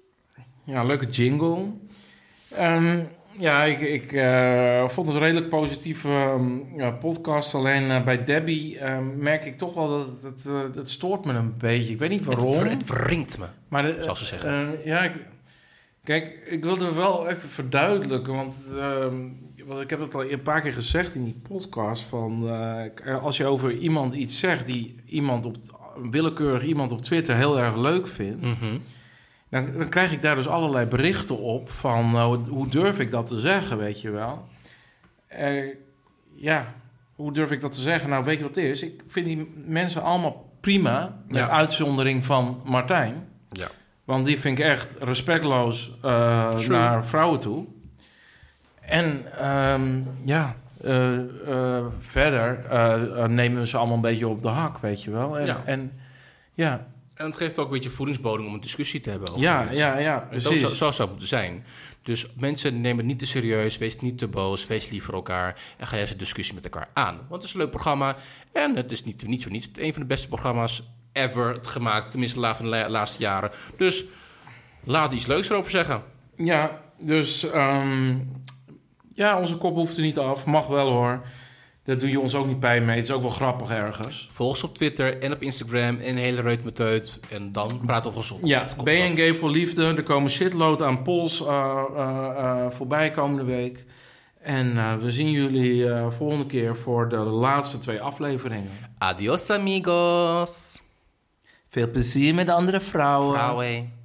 ja, leuke jingle. Ehm, ja, ik, ik eh, vond het een redelijk positieve ehm, ja, podcast. Alleen eh, bij Debbie ehm, merk ik toch wel dat het, het, eh, het stoort me een beetje. Ik weet niet
Het,
waarom.
ver- het wringt me.
Maar de-
Zoals ze zeggen.
eh, ja, ik- kijk, ik wil het wel even verduidelijken. Want, ehm, want ik heb het al een paar keer gezegd in die podcast. Van, eh, als je over iemand iets zegt die iemand op, een willekeurig iemand op Twitter heel erg leuk vindt.
Mhm.
Dan, dan krijg ik daar dus allerlei berichten op van nou, hoe durf ik dat te zeggen, weet je wel. Eh, ja, hoe durf ik dat te zeggen? Nou, weet je wat het is? Ik vind die mensen allemaal prima, met
Ja.
uitzondering van Martijn.
Ja.
Want die vind ik echt respectloos eh,
True.
naar vrouwen toe. En ehm, ja, eh, eh, verder eh, eh, nemen we ze allemaal een beetje op de hak, weet je wel. En
Ja.
en, ja,
En het geeft ook een beetje voedingsbodem om een discussie te hebben. over
ja,
mensen.
ja, ja,
Dus dat
precies.
zou, zo zou het moeten zijn. Dus mensen nemen het niet te serieus, wees niet te boos, wees lief voor elkaar en ga juist de discussie met elkaar aan. Want het is een leuk programma en het is niet, niet voor niets een van de beste programma's ever gemaakt, tenminste de la- van de la- laatste jaren. Dus laat iets leuks erover zeggen.
Ja, dus ehm, ja, onze kop hoeft er niet af. Mag wel hoor. Daar doe je ons ook niet pijn mee. Het is ook wel grappig ergens.
Volg ons op Twitter en op Instagram en hele reut met uit en dan praat over ons op.
Ja,
Komt
ben je
af.
een gay voor liefde? Er komen shitload aan polls eh, eh, eh, voorbij komende week. En eh, we zien jullie eh, volgende keer voor de laatste twee afleveringen.
Adios amigos.
Veel plezier met andere
Vrouwen.